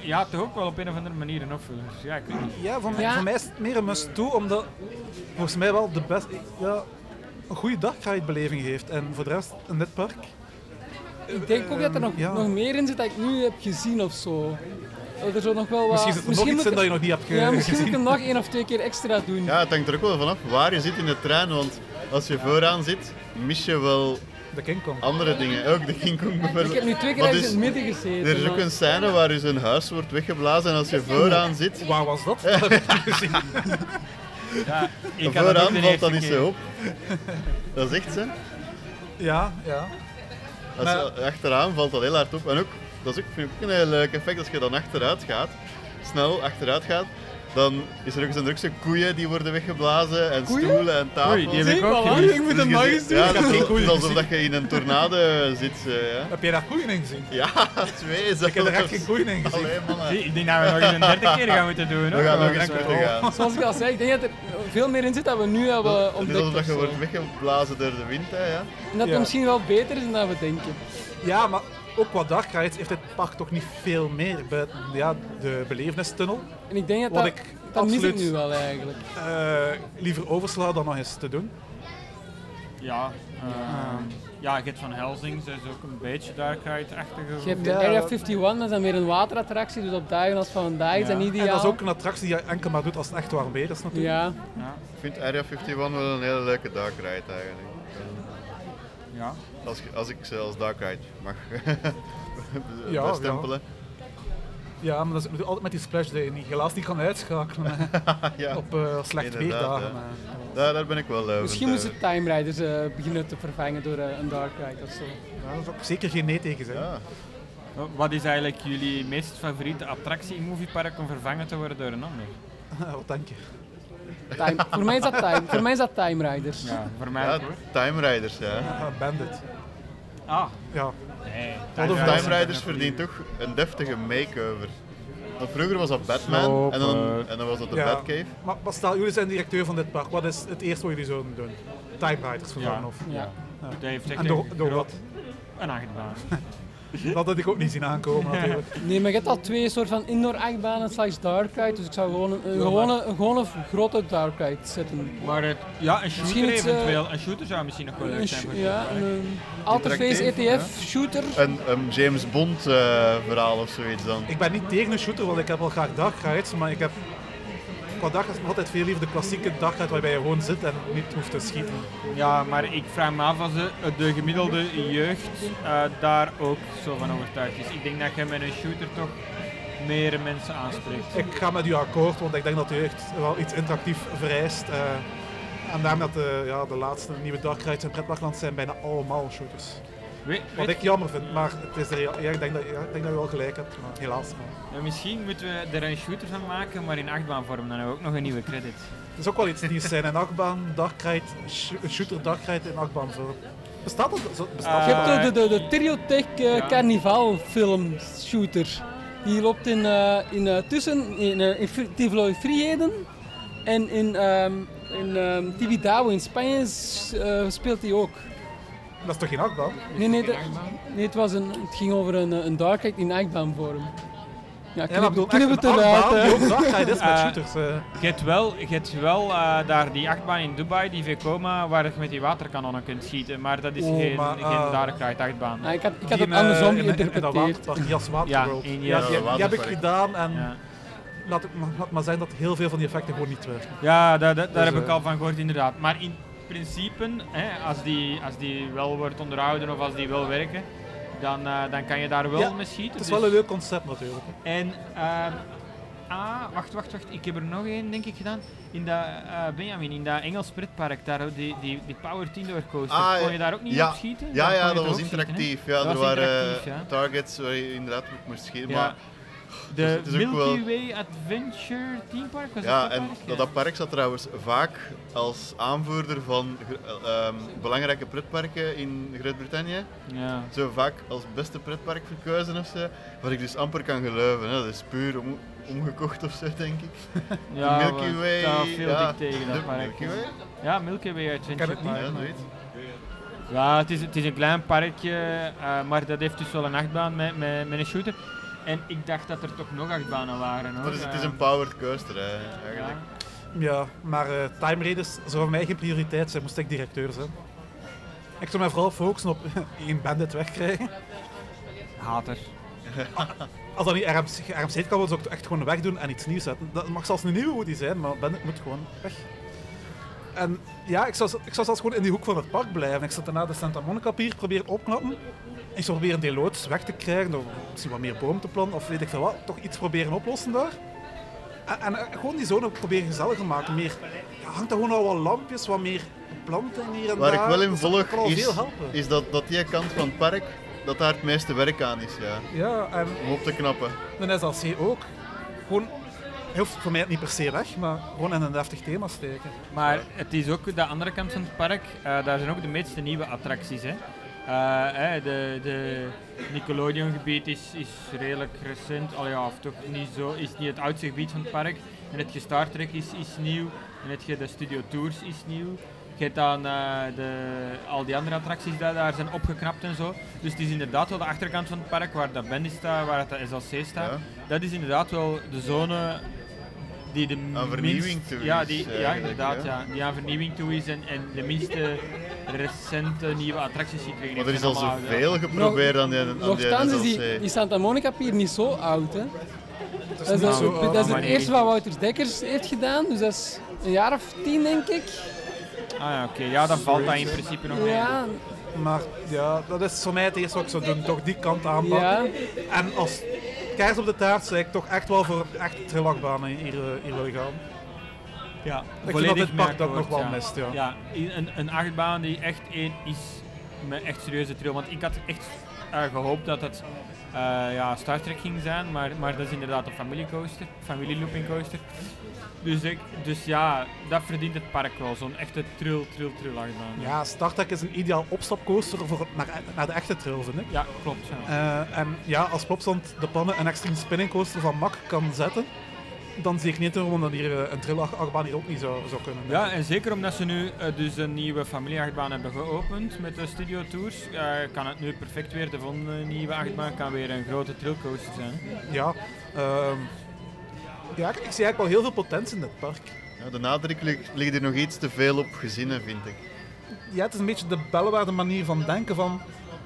[SPEAKER 4] ja, toch ook wel op een of andere manier een opvuller. Dus Ja, ik weet niet.
[SPEAKER 2] Ja, voor, mij-
[SPEAKER 5] Ja.
[SPEAKER 2] voor mij is het meer een must-to, omdat volgens mij wel de best, ja, een goede dagride-beleving geeft. En voor de rest, in dit park,
[SPEAKER 5] Ik denk ook dat er nog,
[SPEAKER 2] Ehm, ja.
[SPEAKER 5] nog meer in zit dat ik nu heb gezien of zo. Dat Er zo nog wel wat...
[SPEAKER 2] misschien zit er nog
[SPEAKER 5] misschien
[SPEAKER 2] iets in
[SPEAKER 5] moet
[SPEAKER 2] dat je
[SPEAKER 5] ik-
[SPEAKER 2] nog niet hebt ge-
[SPEAKER 5] Ja, misschien moet ik
[SPEAKER 2] gezien.
[SPEAKER 5] hem nog één of twee keer extra doen.
[SPEAKER 3] Ja, het hangt er ook wel vanaf waar je zit in de trein, want als je vooraan zit, mis je wel
[SPEAKER 2] De King Kong.
[SPEAKER 3] andere dingen. Ook de King Kong bijvoorbeeld.
[SPEAKER 5] Ik heb nu twee keer
[SPEAKER 3] Want
[SPEAKER 5] ergens in
[SPEAKER 3] is-
[SPEAKER 5] het midden gezeten.
[SPEAKER 3] Er is ook
[SPEAKER 5] maar-
[SPEAKER 3] een scène waar dus een huis wordt weggeblazen en als je vooraan zit,
[SPEAKER 2] Waar was dat? Dat heb ik niet gezien.
[SPEAKER 4] Ja, ik had dat ook
[SPEAKER 3] vooraan
[SPEAKER 4] de
[SPEAKER 3] valt
[SPEAKER 4] eerste
[SPEAKER 3] dat niet
[SPEAKER 4] keer.
[SPEAKER 3] zo op. Dat is echt zo.
[SPEAKER 2] ja, ja.
[SPEAKER 3] Als je eh, achteraan valt dat heel hard op. En ook, dat is ook, vind ik ook een heel leuk effect als je dan achteruit gaat, snel achteruit gaat, dan is er ook zo'n drukse koeien die worden weggeblazen en
[SPEAKER 5] Koeien?
[SPEAKER 3] stoelen en tafels.
[SPEAKER 4] Oei, die heb
[SPEAKER 5] Zie,
[SPEAKER 4] ik ook
[SPEAKER 5] voilà,
[SPEAKER 4] gemist.
[SPEAKER 5] ik moet
[SPEAKER 3] Dus
[SPEAKER 5] hem
[SPEAKER 3] je
[SPEAKER 5] nog
[SPEAKER 3] zit-
[SPEAKER 5] eens doen.
[SPEAKER 3] Ja,
[SPEAKER 2] Ik heb
[SPEAKER 3] dat
[SPEAKER 2] geen
[SPEAKER 3] is-
[SPEAKER 2] koeien
[SPEAKER 3] dat is alsof
[SPEAKER 2] gezien.
[SPEAKER 3] dat je in een tornado zit. eh, ja.
[SPEAKER 2] Heb jij daar koeien in gezien?
[SPEAKER 3] ja, twee
[SPEAKER 2] Ik heb er echt
[SPEAKER 3] zelfs.
[SPEAKER 2] geen koeien in gezien.
[SPEAKER 3] Allee, mannen.
[SPEAKER 4] Zie, Ik denk dat we nog eens een derde keer gaan moeten doen.
[SPEAKER 3] We
[SPEAKER 4] hoor.
[SPEAKER 3] gaan nog
[SPEAKER 4] Dat
[SPEAKER 3] eens
[SPEAKER 4] is wel-
[SPEAKER 3] moeten gaan.
[SPEAKER 5] Zoals ik al zei, ik denk dat er veel meer in zit dat we nu
[SPEAKER 2] eh,
[SPEAKER 5] hebben
[SPEAKER 3] Het is alsof
[SPEAKER 5] ontdekt.
[SPEAKER 3] dat
[SPEAKER 5] of
[SPEAKER 3] je
[SPEAKER 5] zo.
[SPEAKER 3] wordt weggeblazen door de wind. Hè, ja.
[SPEAKER 5] En dat
[SPEAKER 2] Ja.
[SPEAKER 5] het misschien wel beter is dan we denken.
[SPEAKER 2] Ja, maar ook qua daglights heeft dit park toch niet veel meer buiten ja, de belevenis-tunnel.
[SPEAKER 5] En ik denk dat
[SPEAKER 2] Wat
[SPEAKER 5] dat,
[SPEAKER 2] ik
[SPEAKER 5] dat mis ik
[SPEAKER 2] absoluut-
[SPEAKER 5] nu wel eigenlijk.
[SPEAKER 2] Eh, liever overslaan dan nog eens te doen.
[SPEAKER 4] Ja, ehm, ja, Git van Helsings is ook een beetje darkheid-achtige.
[SPEAKER 5] Je hebt de
[SPEAKER 2] Ja,
[SPEAKER 5] Area
[SPEAKER 2] dat-
[SPEAKER 5] 51, dat is dan weer een waterattractie, dus op dagen als vandaag is dat
[SPEAKER 4] Ja.
[SPEAKER 5] niet
[SPEAKER 2] En
[SPEAKER 5] ideaal.
[SPEAKER 2] dat is ook een attractie die je enkel maar doet als het echt warm weer is natuurlijk.
[SPEAKER 5] Ja,
[SPEAKER 4] Ja,
[SPEAKER 3] Ik vind Area 51 wel een hele leuke darkride eigenlijk.
[SPEAKER 4] ja.
[SPEAKER 3] Als, ik- als ik ze als darkride mag
[SPEAKER 2] ja.
[SPEAKER 3] bestempelen.
[SPEAKER 2] Ja, maar dat is natuurlijk altijd met die splash day die je helaas niet kan uitschakelen hè,
[SPEAKER 3] Ah, Ja,
[SPEAKER 2] op eh, slecht
[SPEAKER 3] Inderdaad,
[SPEAKER 2] weerdagen.
[SPEAKER 3] ja.
[SPEAKER 2] hè.
[SPEAKER 3] Daar, daar ben ik wel eh, leuk
[SPEAKER 5] misschien moeten ze Time Riders eh, beginnen te vervangen door eh, een Dark Ride of zo.
[SPEAKER 2] Ja, daar zou ik eh. zeker geen nee tegen zijn.
[SPEAKER 3] Ja.
[SPEAKER 4] Oh, Wat is eigenlijk jullie meest favoriete attractie in Moviepark om vervangen te worden door een ander?
[SPEAKER 2] Wat denk je?
[SPEAKER 5] Time, voor, mij is dat time, voor mij is dat Time Riders.
[SPEAKER 4] Ja, voor mij
[SPEAKER 3] ja,
[SPEAKER 4] ook hoor.
[SPEAKER 3] Time Riders. Ja.
[SPEAKER 2] Ah, Bandit.
[SPEAKER 4] Ah,
[SPEAKER 2] Ja.
[SPEAKER 4] nee.
[SPEAKER 2] of
[SPEAKER 4] Riders
[SPEAKER 3] Time
[SPEAKER 4] zijn
[SPEAKER 3] Riders
[SPEAKER 4] een
[SPEAKER 3] verdient
[SPEAKER 4] goeie.
[SPEAKER 3] toch een deftige makeover. Want vroeger was dat Batman
[SPEAKER 4] Slopen.
[SPEAKER 3] en dan, en dan was dat de
[SPEAKER 2] ja.
[SPEAKER 3] Batcave.
[SPEAKER 2] Maar, maar stel, jullie zijn directeur van dit park. Wat is het eerste wat jullie zouden doen? Time Riders vervangen
[SPEAKER 4] Ja.
[SPEAKER 2] of?
[SPEAKER 5] Ja.
[SPEAKER 4] Dat heeft echt
[SPEAKER 2] En door,
[SPEAKER 4] een
[SPEAKER 2] door
[SPEAKER 4] groot-
[SPEAKER 2] wat?
[SPEAKER 4] Een achtbaan.
[SPEAKER 2] Dat had ik ook niet zien aankomen natuurlijk.
[SPEAKER 5] Nee, maar je hebt al twee soort van indoor achtbanen slash dark ride, dus ik zou gewoon een, een, gewone, een gewone grote dark ride zetten.
[SPEAKER 4] Maar het, ja, een shooter
[SPEAKER 5] Misschien iets, eh,
[SPEAKER 4] eventueel. Een shooter zou misschien nog wel leuk
[SPEAKER 5] Een
[SPEAKER 4] zijn
[SPEAKER 5] sh-
[SPEAKER 4] voor
[SPEAKER 5] ja,
[SPEAKER 4] Moviepark.
[SPEAKER 5] een Alterface
[SPEAKER 3] Interactief,
[SPEAKER 5] ETF shooter.
[SPEAKER 2] Eh,
[SPEAKER 3] Een, een ehm, James Bond eh, verhaal of zoiets dan.
[SPEAKER 2] Ik ben niet tegen een shooter, want ik heb wel graag dagrides, maar ik heb qua dagrides altijd veel liever de klassieke dagride waarbij je gewoon zit en niet hoeft te schieten.
[SPEAKER 4] Ja, maar ik vraag me af of de, de gemiddelde jeugd eh, daar ook zo van overtuigd is. Ik denk dat je met een shooter toch meer mensen aanspreekt.
[SPEAKER 2] Ik ga met u akkoord, want ik denk dat u echt wel iets interactief vereist. eh, en daarom dat de, ja, de laatste nieuwe dagrides in pretparkland zijn bijna allemaal shooters.
[SPEAKER 4] Weet,
[SPEAKER 2] Wat
[SPEAKER 4] weet-
[SPEAKER 2] ik jammer vind, maar het is de real- ja, ik, denk dat, ja, ik denk dat je wel gelijk hebt, maar helaas. Maar.
[SPEAKER 4] eh, misschien moeten we er een shooter van maken, maar in achtbaanvorm. Dan hebben we ook nog een nieuwe credit.
[SPEAKER 2] Het is ook wel iets nieuws zijn, een achtbaan, dagride, sh- een shooter dagride in achtbaan. Zo. Bestaat dat? zo- Bestaat
[SPEAKER 5] Je
[SPEAKER 2] dat?
[SPEAKER 5] hebt de, de, de, de Teriotech eh,
[SPEAKER 4] Ja.
[SPEAKER 5] Carnival film shooter. Die loopt in, eh, in eh, tussen in, eh, in Fri- Tivoli Vrijheden en in, ehm in ehm, Tibidabo in Spanje s- eh, speelt hij ook.
[SPEAKER 2] Dat is toch geen achtbaan?
[SPEAKER 5] Nee, nee, de- nee het, was een, het ging over een, eh, een dark ride in achtbaanvorm. Ja,
[SPEAKER 2] Ja, maar ik bedoel,
[SPEAKER 5] knip, knip
[SPEAKER 2] echt
[SPEAKER 5] het
[SPEAKER 2] een
[SPEAKER 5] eruit.
[SPEAKER 2] achtbaan
[SPEAKER 5] hè.
[SPEAKER 2] die ook dagride is met
[SPEAKER 4] Eh,
[SPEAKER 2] shooters. eh.
[SPEAKER 4] Je hebt wel, je hebt wel eh, daar die achtbaan in Dubai, die Vekoma, waar je met die waterkanonnen kunt schieten. Maar eh, dat is
[SPEAKER 2] Oh,
[SPEAKER 4] geen,
[SPEAKER 2] maar,
[SPEAKER 4] geen
[SPEAKER 2] ah.
[SPEAKER 4] Darkride achtbaan.
[SPEAKER 5] Ah, ik had, ik had
[SPEAKER 2] Die
[SPEAKER 5] het
[SPEAKER 2] in, eh, in-
[SPEAKER 5] andersom
[SPEAKER 2] in- In dat
[SPEAKER 5] geïnterpreteerd.
[SPEAKER 2] waterpark, Jas
[SPEAKER 4] Ja,
[SPEAKER 2] Waterworld.
[SPEAKER 4] in
[SPEAKER 2] Ja,
[SPEAKER 4] Jas
[SPEAKER 2] die, die heb ik
[SPEAKER 3] Waterpark.
[SPEAKER 2] gedaan en
[SPEAKER 4] Ja,
[SPEAKER 2] laat, ik, maar- laat maar zeggen dat heel veel van die effecten gewoon niet werken.
[SPEAKER 4] ja daar, daar, daar
[SPEAKER 2] Dus,
[SPEAKER 4] heb ik
[SPEAKER 2] eh,
[SPEAKER 4] al van gehoord inderdaad. Maar in principe, hè, als, die, als die wel wordt onderhouden of als die wel werken, dan, eh, dan kan je daar wel
[SPEAKER 2] Ja,
[SPEAKER 4] mee schieten.
[SPEAKER 2] Het is
[SPEAKER 4] dus-
[SPEAKER 2] wel een leuk concept natuurlijk.
[SPEAKER 4] En, ehm, ah, wacht, wacht, wacht. Ik heb er nog één, denk ik, gedaan. In dat, eh, Benjamin, in dat Engels pretpark, daar, die, die, die Power Tinder coaster.
[SPEAKER 3] Ah,
[SPEAKER 4] kon je daar ook niet
[SPEAKER 3] ja.
[SPEAKER 4] op schieten?
[SPEAKER 3] Ja,
[SPEAKER 4] Daar kon
[SPEAKER 3] ja, dat
[SPEAKER 4] je toch
[SPEAKER 3] was
[SPEAKER 4] ook schieten, hè?
[SPEAKER 3] interactief. ja,
[SPEAKER 4] Dat
[SPEAKER 3] er
[SPEAKER 4] was
[SPEAKER 3] waren eh,
[SPEAKER 4] interactief, ja.
[SPEAKER 3] targets waar je inderdaad op moest schieten.
[SPEAKER 4] Ja.
[SPEAKER 3] Maar Dus
[SPEAKER 4] De
[SPEAKER 3] het is ook
[SPEAKER 4] Milky
[SPEAKER 3] wel-
[SPEAKER 4] Way Adventure Theme Park was
[SPEAKER 3] Ja,
[SPEAKER 4] dat
[SPEAKER 3] en
[SPEAKER 4] park?
[SPEAKER 3] dat, dat park zat trouwens vaak als aanvoerder van gr- eh, ehm, belangrijke pretparken in Groot-Brittannië.
[SPEAKER 4] Ja.
[SPEAKER 3] Zo vaak als beste pretpark verkozen of zo. Wat ik dus amper kan geloven. Hè. Dat is puur om omgekocht of zo, denk ik.
[SPEAKER 4] Ja,
[SPEAKER 3] Milky
[SPEAKER 4] maar
[SPEAKER 3] Way.
[SPEAKER 4] Daar viel
[SPEAKER 3] ja,
[SPEAKER 4] ik tegen.
[SPEAKER 3] de
[SPEAKER 4] Dat maar
[SPEAKER 3] Milky Way?
[SPEAKER 4] Ja, Milky Way Adventure
[SPEAKER 2] het niet,
[SPEAKER 4] Park.
[SPEAKER 3] Ja, zoiets.
[SPEAKER 4] Ja, het is, het is een klein parkje, eh, maar dat heeft dus wel een achtbaan met, met, met een shooter. En ik dacht dat er toch nog achtbanen waren. Hoor.
[SPEAKER 3] Maar dus het is
[SPEAKER 4] Eh,
[SPEAKER 3] een powered coaster, hè,
[SPEAKER 4] ja.
[SPEAKER 3] eigenlijk.
[SPEAKER 2] Ja, maar eh, time raiders zou voor mij geen prioriteit zijn, moest ik directeur zijn. Ik zou mij vooral focussen op één bandit wegkrijgen.
[SPEAKER 4] Hater.
[SPEAKER 2] Als dat niet RMC, RMC kan, wil ze ook echt gewoon wegdoen en iets nieuws zetten. Dat mag zelfs een nieuwe Woody zijn, maar bandit moet gewoon weg. En ja, ik zou, ik zou zelfs gewoon in die hoek van het park blijven. Ik zou daarna de Santa Monica Pier proberen opknappen. Ik zou proberen die loods weg te krijgen door misschien wat meer boom te planten of weet ik veel wat. Toch iets proberen oplossen daar. En, en, eh, gewoon die zone proberen gezelliger maken. Meer, ja, hangt er gewoon al wat lampjes, wat meer planten hier en
[SPEAKER 3] Waar
[SPEAKER 2] daar.
[SPEAKER 3] ik wel in
[SPEAKER 2] Dat zou
[SPEAKER 3] volg
[SPEAKER 2] wel al
[SPEAKER 3] is,
[SPEAKER 2] veel helpen.
[SPEAKER 3] is dat, dat die kant van het park, dat daar het meeste werk aan is, ja.
[SPEAKER 2] Ja, en
[SPEAKER 3] Om op te knappen.
[SPEAKER 2] een SLC ook. Gewoon, hij hoeft voor mij niet per se weg, maar gewoon in een deftig thema steken.
[SPEAKER 4] Maar het is ook de andere kant van het park, eh, daar zijn ook de meeste nieuwe attracties. Hè. Eh, eh, de, de Nickelodeon gebied is, is redelijk recent, al ja, of toch niet zo, is niet het oudste gebied van het park. En het je Star Trek is, is nieuw, en het je de Studio Tours is nieuw. Je hebt dan eh, de, al die andere attracties die daar zijn opgeknapt en zo. Dus het is inderdaad wel de achterkant van het park waar dat Bendy staat, waar dat SLC staat.
[SPEAKER 3] Ja.
[SPEAKER 4] Dat is inderdaad wel de zone die de
[SPEAKER 3] Aan vernieuwing
[SPEAKER 4] minst-
[SPEAKER 3] toe
[SPEAKER 4] Ja,
[SPEAKER 3] is, eh,
[SPEAKER 4] die, ja
[SPEAKER 3] eigenlijk,
[SPEAKER 4] inderdaad.
[SPEAKER 3] hè?
[SPEAKER 4] Ja. Die aan vernieuwing toe is en, en de minste recente nieuwe attracties gekregen heeft.
[SPEAKER 3] Maar er is
[SPEAKER 4] zijn
[SPEAKER 3] al
[SPEAKER 4] allemaal oude.
[SPEAKER 3] zoveel geprobeerd aan die, aan die
[SPEAKER 5] Nochtans is die, die
[SPEAKER 3] SLC.
[SPEAKER 5] Santa Monica Pier niet zo oud. Hè. Dat is,
[SPEAKER 2] niet
[SPEAKER 5] dat-
[SPEAKER 2] zo
[SPEAKER 5] dat
[SPEAKER 2] oud,
[SPEAKER 5] is
[SPEAKER 4] maar
[SPEAKER 5] het
[SPEAKER 4] die-
[SPEAKER 5] eerste wat Wouter Dekkers heeft gedaan, dus dat is een jaar of tien denk ik.
[SPEAKER 4] Ah ja, oké. Ja, dan valt dat in principe nog mee.
[SPEAKER 5] Ja,
[SPEAKER 2] Maar ja, dat is voor mij het eerste wat ik zou doen. Toch die kant aanpakken.
[SPEAKER 5] ja.
[SPEAKER 2] En als kaars op de taart zou ik toch echt wel voor echt trilakbanen hier, eh, hier willen gaan.
[SPEAKER 4] Ja,
[SPEAKER 2] vind
[SPEAKER 4] volledig
[SPEAKER 2] dat dit
[SPEAKER 4] mee
[SPEAKER 2] pak dat nog
[SPEAKER 4] akkoord,
[SPEAKER 2] wel
[SPEAKER 4] ja.
[SPEAKER 2] mist, ja.
[SPEAKER 4] i- een, een achtbaan die echt één is met echt serieuze trail. Want ik had echt eh, gehoopt dat het eh, ja, Star Trek ging zijn, maar, maar dat is inderdaad een familiecoaster, familielooping coaster. Dus, ik, dus ja, dat verdient het park wel, zo'n echte trail, trail, trail achtbaan.
[SPEAKER 2] Ja, Star Trek is een ideaal opstapcoaster voor naar, naar de echte trail, vind ik.
[SPEAKER 4] Ja, klopt. Ja.
[SPEAKER 2] Eh, en ja, als Plopsand de pannen een extreme spinning coaster van Mac kan zetten, dan zie ik niet waarom dat hier eh, een trilachtbaan hier ook niet zou, zou kunnen.
[SPEAKER 4] Ja, en zeker omdat ze nu eh, dus een nieuwe familieachtbaan hebben geopend met de Studio Tours, eh, kan het nu perfect weer. De volgende nieuwe achtbaan kan weer een grote trailcoaster zijn.
[SPEAKER 2] Ja, ehm, ja ik, ik zie eigenlijk wel heel veel potentie in dit park.
[SPEAKER 3] Ja, de nadruk ligt, ligt er nog iets te veel op gezinnen, vind ik.
[SPEAKER 2] Ja, het is een beetje de bellenwaarde manier van denken van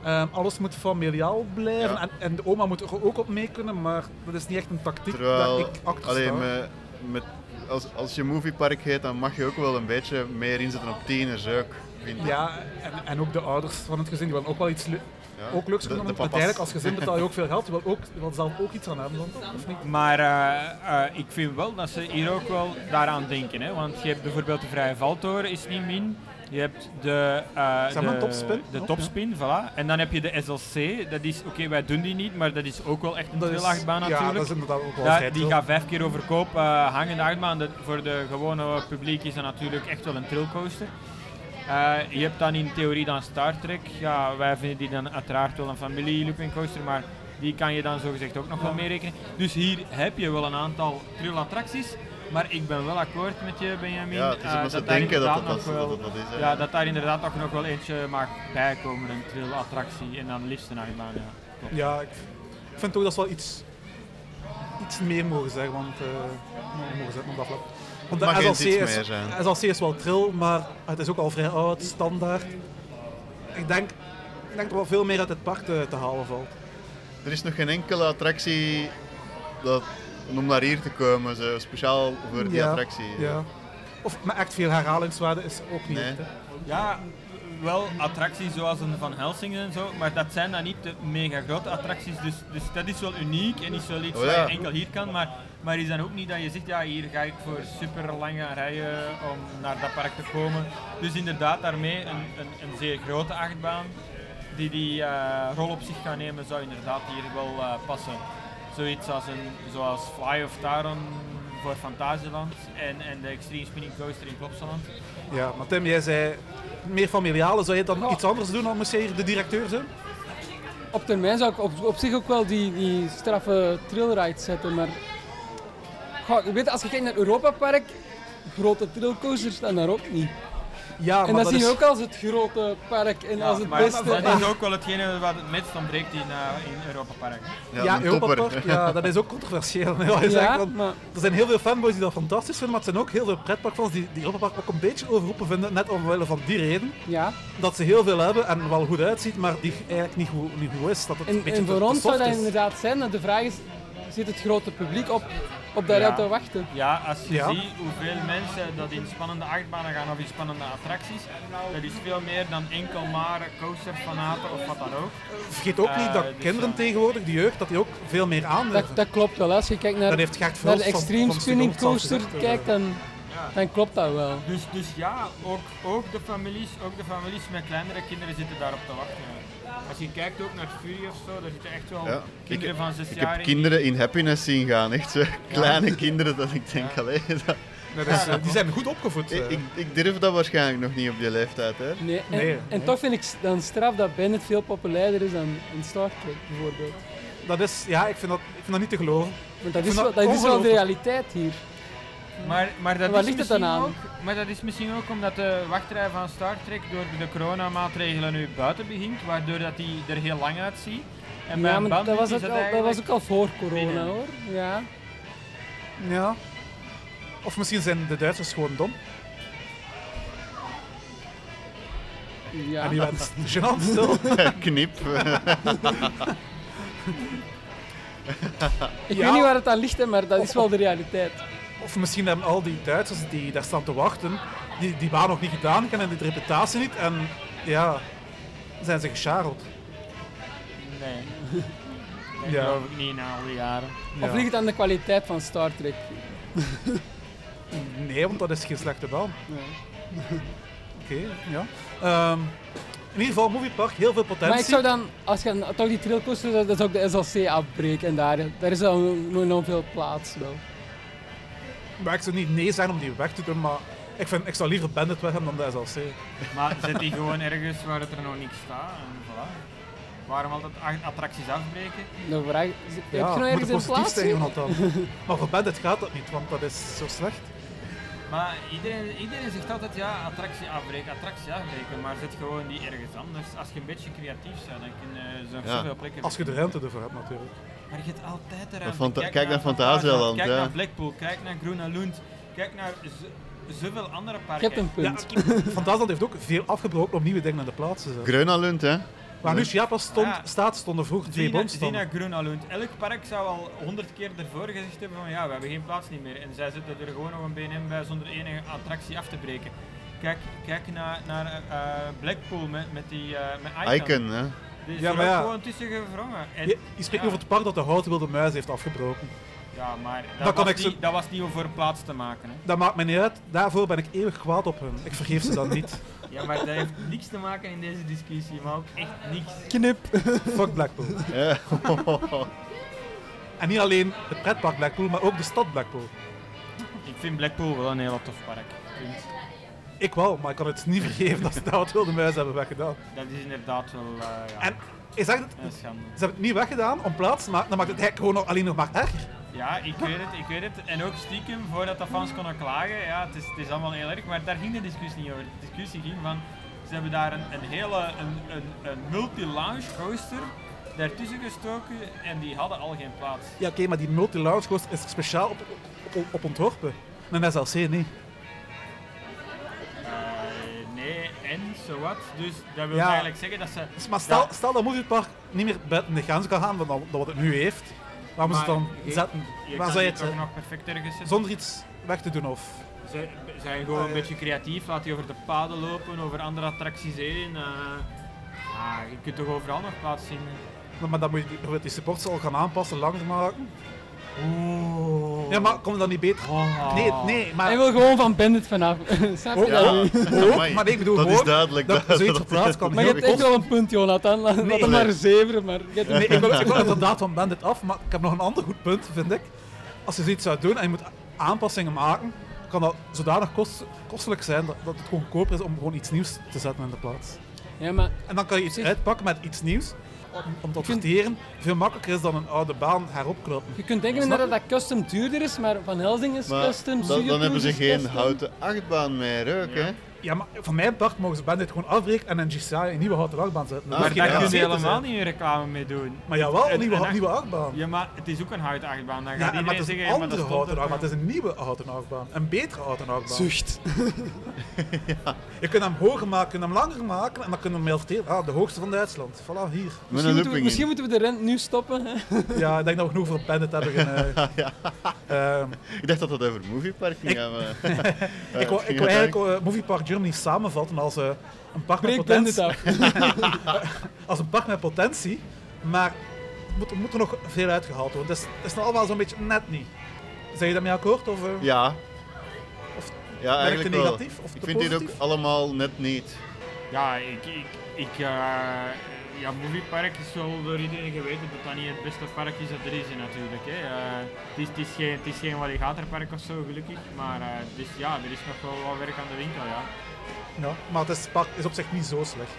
[SPEAKER 2] ehm, alles moet familiaal blijven
[SPEAKER 3] Ja.
[SPEAKER 2] en, en de oma moet er ook op mee kunnen, maar dat is niet echt een tactiek
[SPEAKER 3] Terwijl, eh,
[SPEAKER 2] dat ik achter
[SPEAKER 3] allee,
[SPEAKER 2] sta.
[SPEAKER 3] met, met, als, als je moviepark heet, dan mag je ook wel een beetje meer inzetten op tieners ook, vind ik.
[SPEAKER 2] Ja, en, en ook de ouders van het gezin, die willen ook wel iets le-
[SPEAKER 3] Ja,
[SPEAKER 2] ook leuks
[SPEAKER 3] de-
[SPEAKER 2] kunnen doen.
[SPEAKER 3] de
[SPEAKER 2] want
[SPEAKER 3] papa's.
[SPEAKER 2] Uiteindelijk, als gezin betaal je ook veel geld, je wil, ook, je wil zelf ook iets aan hebben dan, of niet?
[SPEAKER 4] Maar eh, eh, ik vind wel dat ze hier ook wel daaraan denken. Hè? Want je hebt bijvoorbeeld de Vrije Valtoren, is niet min. Je hebt de, eh,
[SPEAKER 2] Zeg maar
[SPEAKER 4] de,
[SPEAKER 2] een topspin?
[SPEAKER 4] de
[SPEAKER 2] Ook,
[SPEAKER 4] topspin, voilà. En dan heb je de SLC. Dat is, oké, wij doen die niet, maar dat is ook wel echt een
[SPEAKER 2] Dat is-
[SPEAKER 4] trilachtbaan
[SPEAKER 2] Ja,
[SPEAKER 4] natuurlijk.
[SPEAKER 2] dat is inderdaad ook wel
[SPEAKER 4] Ja,
[SPEAKER 2] vrij
[SPEAKER 4] die
[SPEAKER 2] chill.
[SPEAKER 4] gaat vijf keer overkoop. eh hangende achtbaan dat voor de gewone publiek is dat natuurlijk echt wel een trailcoaster. Eh, je hebt dan in theorie dan Star Trek. Ja, wij vinden die dan uiteraard wel een familie looping coaster, maar die kan je dan zogezegd ook nog wel meerekenen. Dus hier heb je wel een aantal trillattracties, maar ik ben wel akkoord met je Benjamin.
[SPEAKER 3] Ja, het is
[SPEAKER 4] eh,
[SPEAKER 3] omdat ze
[SPEAKER 4] daar
[SPEAKER 3] denken dat
[SPEAKER 4] inderdaad
[SPEAKER 3] dat-
[SPEAKER 4] nog
[SPEAKER 3] dat-
[SPEAKER 4] wel-
[SPEAKER 3] dat dat is, hè.
[SPEAKER 4] Ja, dat daar inderdaad toch nog wel eentje mag bijkomen, een trillattractie en dan liefst een achtbaan. Ja. Klopt.
[SPEAKER 2] Ja, ik ik vind ook dat ze wel iets, iets meer mogen zeggen, want eh we mogen zetten op dat vlak. Want
[SPEAKER 3] mag geen
[SPEAKER 2] de SLC
[SPEAKER 3] iets meer
[SPEAKER 2] is,
[SPEAKER 3] zijn.
[SPEAKER 2] SLC is wel trill, maar het is ook al vrij oud, standaard. Ik denk, ik denk er wel veel meer uit het park te, te halen valt.
[SPEAKER 3] Er is nog geen enkele attractie dat, om naar hier te komen, zo, speciaal voor die
[SPEAKER 2] Ja,
[SPEAKER 3] attractie. eh.
[SPEAKER 2] Ja. Of, maar echt veel herhalingswaarde is ook niet
[SPEAKER 3] Nee.
[SPEAKER 2] echt, hè.
[SPEAKER 4] Ja, wel attracties zoals een Van Helsingen en zo, maar dat zijn dan niet de mega grote attracties. Dus, dus dat is wel uniek en is wel iets
[SPEAKER 3] Oh
[SPEAKER 4] wat
[SPEAKER 3] ja.
[SPEAKER 4] je enkel hier kan. Maar, maar is dan ook niet dat je zegt, ja, hier ga ik voor super lange rijen om naar dat park te komen. Dus inderdaad, daarmee een, een, een zeer grote achtbaan die die eh, rol op zich gaat nemen, zou inderdaad hier wel eh, passen. Zoiets als een, zoals Fly of Taron voor Fantasieland en, en de Extreme Spinning Coaster in Plopsaland.
[SPEAKER 2] Ja, maar Tim, jij zei meer familiale. Zou je dan iets anders doen dan moest jij hier de directeur zijn?
[SPEAKER 5] Op termijn zou ik op, op zich ook wel die, die straffe trailride zetten, maar Goh, je weet, als je kijkt naar Europa Park, grote thrillcoasters staan daar ook niet.
[SPEAKER 2] Ja, Ah, maar
[SPEAKER 5] en dat, zien
[SPEAKER 2] is-
[SPEAKER 5] we ook als het grote park en als het
[SPEAKER 4] maar
[SPEAKER 5] beste.
[SPEAKER 4] dat is ook wel hetgene wat het meest ontbreekt in, eh, in Europa Park.
[SPEAKER 3] Ja,
[SPEAKER 2] Ja,
[SPEAKER 3] een
[SPEAKER 2] Europa
[SPEAKER 3] topper.
[SPEAKER 2] Park, ja, dat is ook controversieel. Ja, is
[SPEAKER 5] ja,
[SPEAKER 2] eigenlijk dan-
[SPEAKER 5] maar
[SPEAKER 2] er zijn heel veel fanboys die dat fantastisch vinden, maar er zijn ook heel veel pretparkfans die, die Europa Park ook een beetje overroepen vinden, net omwille van die reden.
[SPEAKER 5] ja.
[SPEAKER 2] Dat ze heel veel hebben en wel goed uitziet, maar die eigenlijk niet goed, niet goed is. Dat het een
[SPEAKER 5] En,
[SPEAKER 2] beetje
[SPEAKER 5] en
[SPEAKER 2] te-
[SPEAKER 5] voor
[SPEAKER 2] te
[SPEAKER 5] ons
[SPEAKER 2] soft
[SPEAKER 5] zou dat
[SPEAKER 2] is.
[SPEAKER 5] inderdaad zijn. dat De vraag is, zit het grote publiek op, op
[SPEAKER 4] Ja.
[SPEAKER 5] daaruit te wachten?
[SPEAKER 4] Ja, als je
[SPEAKER 2] Ja.
[SPEAKER 4] ziet hoeveel mensen dat in spannende achtbanen gaan of in spannende attracties, dat is veel meer dan enkel maar coasterfanaten of wat dan ook.
[SPEAKER 2] Vergeet ook niet dat
[SPEAKER 4] Eh, dus,
[SPEAKER 2] kinderen
[SPEAKER 4] eh,
[SPEAKER 2] tegenwoordig, die jeugd, dat die ook veel meer aandurven.
[SPEAKER 5] Dat, dat klopt wel. Als je kijkt naar,
[SPEAKER 2] Dat heeft Gert
[SPEAKER 5] naar de
[SPEAKER 2] Verhulst van-
[SPEAKER 5] Extreme
[SPEAKER 2] van
[SPEAKER 5] Spinning
[SPEAKER 2] Student zelf
[SPEAKER 5] Coaster
[SPEAKER 2] gezegd, eh,
[SPEAKER 5] kijkt, dan,
[SPEAKER 4] Ja.
[SPEAKER 5] dan klopt dat wel.
[SPEAKER 4] Dus, dus ja, ook, ook, de families, ook de families met kleinere kinderen zitten daarop te wachten. Als je kijkt ook naar Fury of zo, daar zitten echt wel
[SPEAKER 3] Ja,
[SPEAKER 4] kinderen van zes
[SPEAKER 3] Ik
[SPEAKER 4] jaar
[SPEAKER 3] heb
[SPEAKER 4] in.
[SPEAKER 3] kinderen in happiness zien gaan, echt zo. Kleine kinderen, dat ik denk, allee, dat-
[SPEAKER 2] Nee, dat is, eh, die zijn goed opgevoed. eh.
[SPEAKER 3] ik, ik, ik durf dat waarschijnlijk nog niet op die leeftijd, hè.
[SPEAKER 5] Nee, en,
[SPEAKER 2] Nee,
[SPEAKER 5] en
[SPEAKER 2] nee.
[SPEAKER 5] toch vind ik s- dan straf dat Bennett veel populairder is dan in Star Trek bijvoorbeeld.
[SPEAKER 2] Dat is, ja, ik vind dat, ik vind dat niet te geloven.
[SPEAKER 5] Want dat
[SPEAKER 2] vind
[SPEAKER 5] is,
[SPEAKER 2] dat
[SPEAKER 5] wel- dat is wel de
[SPEAKER 2] ongelooflijk.
[SPEAKER 5] realiteit hier.
[SPEAKER 4] Maar, maar, dat
[SPEAKER 5] Waar
[SPEAKER 4] is
[SPEAKER 5] ligt het dan
[SPEAKER 4] misschien
[SPEAKER 5] aan?
[SPEAKER 4] Ook, maar dat is misschien ook omdat de wachtrij van Star Trek door de coronamaatregelen nu buiten begint, waardoor dat die er heel lang uitziet. En bij
[SPEAKER 5] Ja,
[SPEAKER 4] een
[SPEAKER 5] maar dat
[SPEAKER 4] bandit
[SPEAKER 5] was,
[SPEAKER 4] is
[SPEAKER 5] ook
[SPEAKER 4] dat
[SPEAKER 5] al, dat was
[SPEAKER 4] eigenlijk-
[SPEAKER 5] ook al voor corona
[SPEAKER 4] binnen.
[SPEAKER 5] hoor. Ja.
[SPEAKER 2] Ja. Of misschien zijn de Duitsers gewoon dom.
[SPEAKER 5] ja.
[SPEAKER 2] En die waren gênant stil.
[SPEAKER 3] Knip.
[SPEAKER 5] Ik
[SPEAKER 2] Ja.
[SPEAKER 5] weet niet waar het aan ligt, hè, maar dat is
[SPEAKER 2] Of-
[SPEAKER 5] wel de realiteit.
[SPEAKER 2] Of misschien hebben al die Duitsers die daar staan te wachten, die, die baan nog niet gedaan, kennen die reputatie niet en ja, zijn ze gescharreld.
[SPEAKER 4] Nee. Dat
[SPEAKER 2] Ja.
[SPEAKER 4] geloof ik niet na al die jaren.
[SPEAKER 5] Of
[SPEAKER 2] Ja.
[SPEAKER 5] ligt het aan de kwaliteit van Star Trek?
[SPEAKER 2] Nee, want dat is geen slechte baan. Oké, ja. Ehm, in ieder geval, Moviepark, heel veel potentie.
[SPEAKER 5] Maar ik zou dan, als je dan toch die trailcoaster, dat is ook de SLC afbreken en daar, daar is dan nog nog veel plaats wel.
[SPEAKER 2] Maar ik zou niet nee zeggen om die weg te doen, maar ik, vind, ik zou liever Bandit weg hebben dan de SLC.
[SPEAKER 4] Maar zet die gewoon ergens waar het er nog niks staat en voilà. Waarom altijd a- attracties afbreken?
[SPEAKER 5] Dan vraag ik, heb
[SPEAKER 2] ja,
[SPEAKER 5] je nog
[SPEAKER 2] moet
[SPEAKER 5] ergens een
[SPEAKER 2] positief
[SPEAKER 5] plaats?
[SPEAKER 2] zijn,
[SPEAKER 5] hier?
[SPEAKER 2] Jonathan. maar voor Bandit gaat dat niet, want dat is zo slecht.
[SPEAKER 4] Maar iedereen, iedereen zegt altijd ja, attractie afbreken, attractie afbreken, maar zet gewoon die ergens anders. Als je een beetje creatief bent, dan kun je zo
[SPEAKER 3] Ja.
[SPEAKER 4] zoveel plekken
[SPEAKER 2] Als je de ruimte ervoor hebt, natuurlijk.
[SPEAKER 4] Maar je hebt altijd de ruimte.
[SPEAKER 3] Fanta- kijk naar Fantasieland,
[SPEAKER 4] Kijk
[SPEAKER 3] ja.
[SPEAKER 4] naar Blackpool, kijk naar Groene Lund, kijk naar z- zoveel andere
[SPEAKER 5] Je
[SPEAKER 4] parken.
[SPEAKER 5] hebt een
[SPEAKER 2] Ja,
[SPEAKER 5] punt.
[SPEAKER 2] Fantasland heeft ook veel afgebroken om nieuwe dingen aan de plaats te zetten.
[SPEAKER 3] Greunalund, hè.
[SPEAKER 2] Waar nu Chiapas stond,
[SPEAKER 4] Ja.
[SPEAKER 2] staat, stonden vroeger twee
[SPEAKER 4] Zie naar- Zie
[SPEAKER 2] bomstanden.
[SPEAKER 4] naar Groene Lund. Elk park zou al honderd keer ervoor gezegd hebben van ja, we hebben geen plaats niet meer. En zij zetten er gewoon nog een BNM bij zonder enige attractie af te breken. Kijk, kijk naar, naar eh, Blackpool met, met die eh, met Icon.
[SPEAKER 3] Icon, hè.
[SPEAKER 4] Die is
[SPEAKER 2] Ja,
[SPEAKER 4] er
[SPEAKER 2] maar
[SPEAKER 4] ook
[SPEAKER 2] ja.
[SPEAKER 4] gewoon tussen gevrongen. En,
[SPEAKER 2] Je, je spreekt
[SPEAKER 4] ja,
[SPEAKER 2] over het park dat de houten wilde muis heeft afgebroken.
[SPEAKER 4] Ja, maar dat,
[SPEAKER 2] Dat kan
[SPEAKER 4] was
[SPEAKER 2] ik zo-
[SPEAKER 4] niet, dat was niet om voor plaats te maken. Hè.
[SPEAKER 2] Dat maakt me niet uit, daarvoor ben ik eeuwig kwaad op hun. Ik vergeef ze dat niet.
[SPEAKER 4] Ja, maar dat heeft niks te maken in deze discussie, maar ook echt niks.
[SPEAKER 5] Knip.
[SPEAKER 2] Fuck Blackpool.
[SPEAKER 3] Ja.
[SPEAKER 2] En niet alleen het pretpark Blackpool, maar ook de stad Blackpool.
[SPEAKER 4] Ik vind Blackpool wel een heel tof park. Punt.
[SPEAKER 2] Ik wel, maar ik kan het niet vergeven dat ze de houten wilde muis hebben weggedaan.
[SPEAKER 4] Dat is inderdaad wel eh, ja,
[SPEAKER 2] En je zegt het,
[SPEAKER 4] een schande.
[SPEAKER 2] ze hebben het niet weggedaan om plaats te maken, dan maakt het eigenlijk gewoon nog- alleen nog maar erger.
[SPEAKER 4] Ja, ik weet het, ik weet het. En ook stiekem, voordat de fans konden klagen, ja, het is, het is allemaal heel erg, maar daar ging de discussie niet over. De discussie ging van, ze hebben daar een, een hele, een, een, een multi-lounge coaster daartussen gestoken en die hadden al geen plaats.
[SPEAKER 2] Ja oké, maar die multi-lounge coaster is speciaal op, op, op ontworpen. Een SLC niet.
[SPEAKER 4] Eh, nee, en, zowat. Dus dat wil
[SPEAKER 2] Ja.
[SPEAKER 4] eigenlijk zeggen dat ze...
[SPEAKER 2] Dus Maar stel,
[SPEAKER 4] Ja.
[SPEAKER 2] stel dat Moviepark niet meer buiten de grens kan gaan van dat, dat wat het nu heeft. Waar moet ze het
[SPEAKER 4] Maar
[SPEAKER 2] dan
[SPEAKER 4] je-
[SPEAKER 2] zetten?
[SPEAKER 4] Je
[SPEAKER 2] Waar
[SPEAKER 4] kan
[SPEAKER 2] zou je
[SPEAKER 4] die
[SPEAKER 2] het
[SPEAKER 4] toch
[SPEAKER 2] zetten?
[SPEAKER 4] nog perfect ergens zetten.
[SPEAKER 2] Zonder iets weg te doen of...
[SPEAKER 4] Zij- Zijn gewoon
[SPEAKER 2] Eh.
[SPEAKER 4] een beetje creatief, laat die over de paden lopen, over andere attracties heen. eh. ja, je kunt toch overal nog plaats zien.
[SPEAKER 2] Maar dan moet je die, dan moet je die supports al gaan aanpassen, langer maken.
[SPEAKER 4] Oeh. Oh.
[SPEAKER 2] Ja, maar komt dan niet beter?
[SPEAKER 4] Ah.
[SPEAKER 2] Nee, nee, maar...
[SPEAKER 5] Hij wil gewoon van Bandit vanaf. Snap je
[SPEAKER 2] Oh,
[SPEAKER 5] dat?
[SPEAKER 3] Ja.
[SPEAKER 5] niet?
[SPEAKER 2] Ook,
[SPEAKER 3] Amai,
[SPEAKER 2] maar nee, ik bedoel
[SPEAKER 3] dat is
[SPEAKER 2] gewoon
[SPEAKER 3] duidelijk.
[SPEAKER 2] dat zoiets op plaats kan.
[SPEAKER 5] Maar je
[SPEAKER 2] heel
[SPEAKER 5] hebt echt
[SPEAKER 2] kort-
[SPEAKER 5] wel een punt, Jonathan. Laat laat hem maar
[SPEAKER 3] Nee.
[SPEAKER 5] zeveren, maar je hebt een
[SPEAKER 2] Nee, ik wil, ik wil inderdaad van Bandit af, maar ik heb nog een ander goed punt, vind ik. Als je zoiets zou doen en je moet aanpassingen maken, kan dat zodanig kost, kostelijk zijn dat, dat het gewoon goedkoper is om gewoon iets nieuws te zetten in de plaats.
[SPEAKER 5] Ja, maar
[SPEAKER 2] En dan kan je iets
[SPEAKER 5] Zit-
[SPEAKER 2] uitpakken met iets nieuws. om- Om te
[SPEAKER 5] vind-
[SPEAKER 2] adverteren. Veel makkelijker is dan een oude baan heropkloppen.
[SPEAKER 5] je kunt denken
[SPEAKER 2] Snap
[SPEAKER 5] inderdaad dat custom duurder is, maar Van Helsing is
[SPEAKER 3] Maar
[SPEAKER 5] custom,
[SPEAKER 3] dan,
[SPEAKER 5] Studio
[SPEAKER 3] dan hebben ze
[SPEAKER 5] Tours is
[SPEAKER 3] geen
[SPEAKER 5] custom.
[SPEAKER 3] houten achtbaan meer, ook, hè?
[SPEAKER 2] Ja, maar van mijn part mogen ze Bandit gewoon afbreken en een GCI een nieuwe houten achtbaan zetten. Dat
[SPEAKER 3] Ah,
[SPEAKER 2] hoeft
[SPEAKER 4] Maar
[SPEAKER 2] geen
[SPEAKER 4] daar kun
[SPEAKER 2] RC
[SPEAKER 4] je
[SPEAKER 2] te zijn.
[SPEAKER 4] helemaal niet een reclame mee doen.
[SPEAKER 2] Maar jawel, een
[SPEAKER 4] En-
[SPEAKER 2] nieuwe,
[SPEAKER 4] en
[SPEAKER 2] hou-
[SPEAKER 4] echt-
[SPEAKER 2] nieuwe achtbaan. Ja,
[SPEAKER 4] Ja, maar het is ook een houten achtbaan. Dan gaat
[SPEAKER 2] en maar
[SPEAKER 4] iedereen
[SPEAKER 2] het is
[SPEAKER 4] zeggen,
[SPEAKER 2] een
[SPEAKER 4] ja, maar dat
[SPEAKER 2] andere
[SPEAKER 4] stond
[SPEAKER 2] houten
[SPEAKER 4] er
[SPEAKER 2] achtbaan, maar het
[SPEAKER 4] toch.
[SPEAKER 2] is een nieuwe houten achtbaan. Een betere houten achtbaan.
[SPEAKER 5] Zucht.
[SPEAKER 2] Je kunt hem hoger maken, je kunt hem langer maken en dan kunnen we hem adverteren. Ah, de hoogste van Duitsland. Voilà, hier.
[SPEAKER 3] Met
[SPEAKER 5] Misschien,
[SPEAKER 3] een
[SPEAKER 5] moeten we,
[SPEAKER 3] looping
[SPEAKER 5] misschien
[SPEAKER 3] in.
[SPEAKER 5] moeten we de rent nu stoppen. Hè?
[SPEAKER 2] Ja, ik denk dat we genoeg voor Bandit hebben. En, eh, ehm,
[SPEAKER 3] Ik dacht dat dat over moviepark ging gaan. maar- Eh,
[SPEAKER 2] ik wil
[SPEAKER 3] het ging
[SPEAKER 2] eigenlijk
[SPEAKER 3] uiteindelijk-
[SPEAKER 2] eh, Movie Park Germany samenvatten als eh, een park met
[SPEAKER 5] Breek Bandit
[SPEAKER 2] potentie.
[SPEAKER 5] af.
[SPEAKER 2] als een park met potentie, maar er moet, er moet er nog veel uitgehaald worden. Dus het is nog allemaal zo'n beetje net niet. Zijn je daarmee akkoord? Of, eh,
[SPEAKER 3] Ja.
[SPEAKER 2] Of werkt
[SPEAKER 3] ja, eigenlijk
[SPEAKER 2] het
[SPEAKER 3] wel.
[SPEAKER 2] negatief of
[SPEAKER 3] ik
[SPEAKER 2] te
[SPEAKER 3] vind dit ook
[SPEAKER 2] positief?
[SPEAKER 3] allemaal net niet.
[SPEAKER 4] Ja, ik... ik, ik eh, ja, Moviepark is wel door iedereen geweten dat dat niet het beste park is dat er is, hè, natuurlijk. Hè. Eh, het, is, het, is geen, het is geen alligatorpark of zo, gelukkig. Maar eh, dus, ja, er is nog wel wat werk aan de winkel, ja.
[SPEAKER 2] Ja, maar het is, het park is op zich niet zo slecht.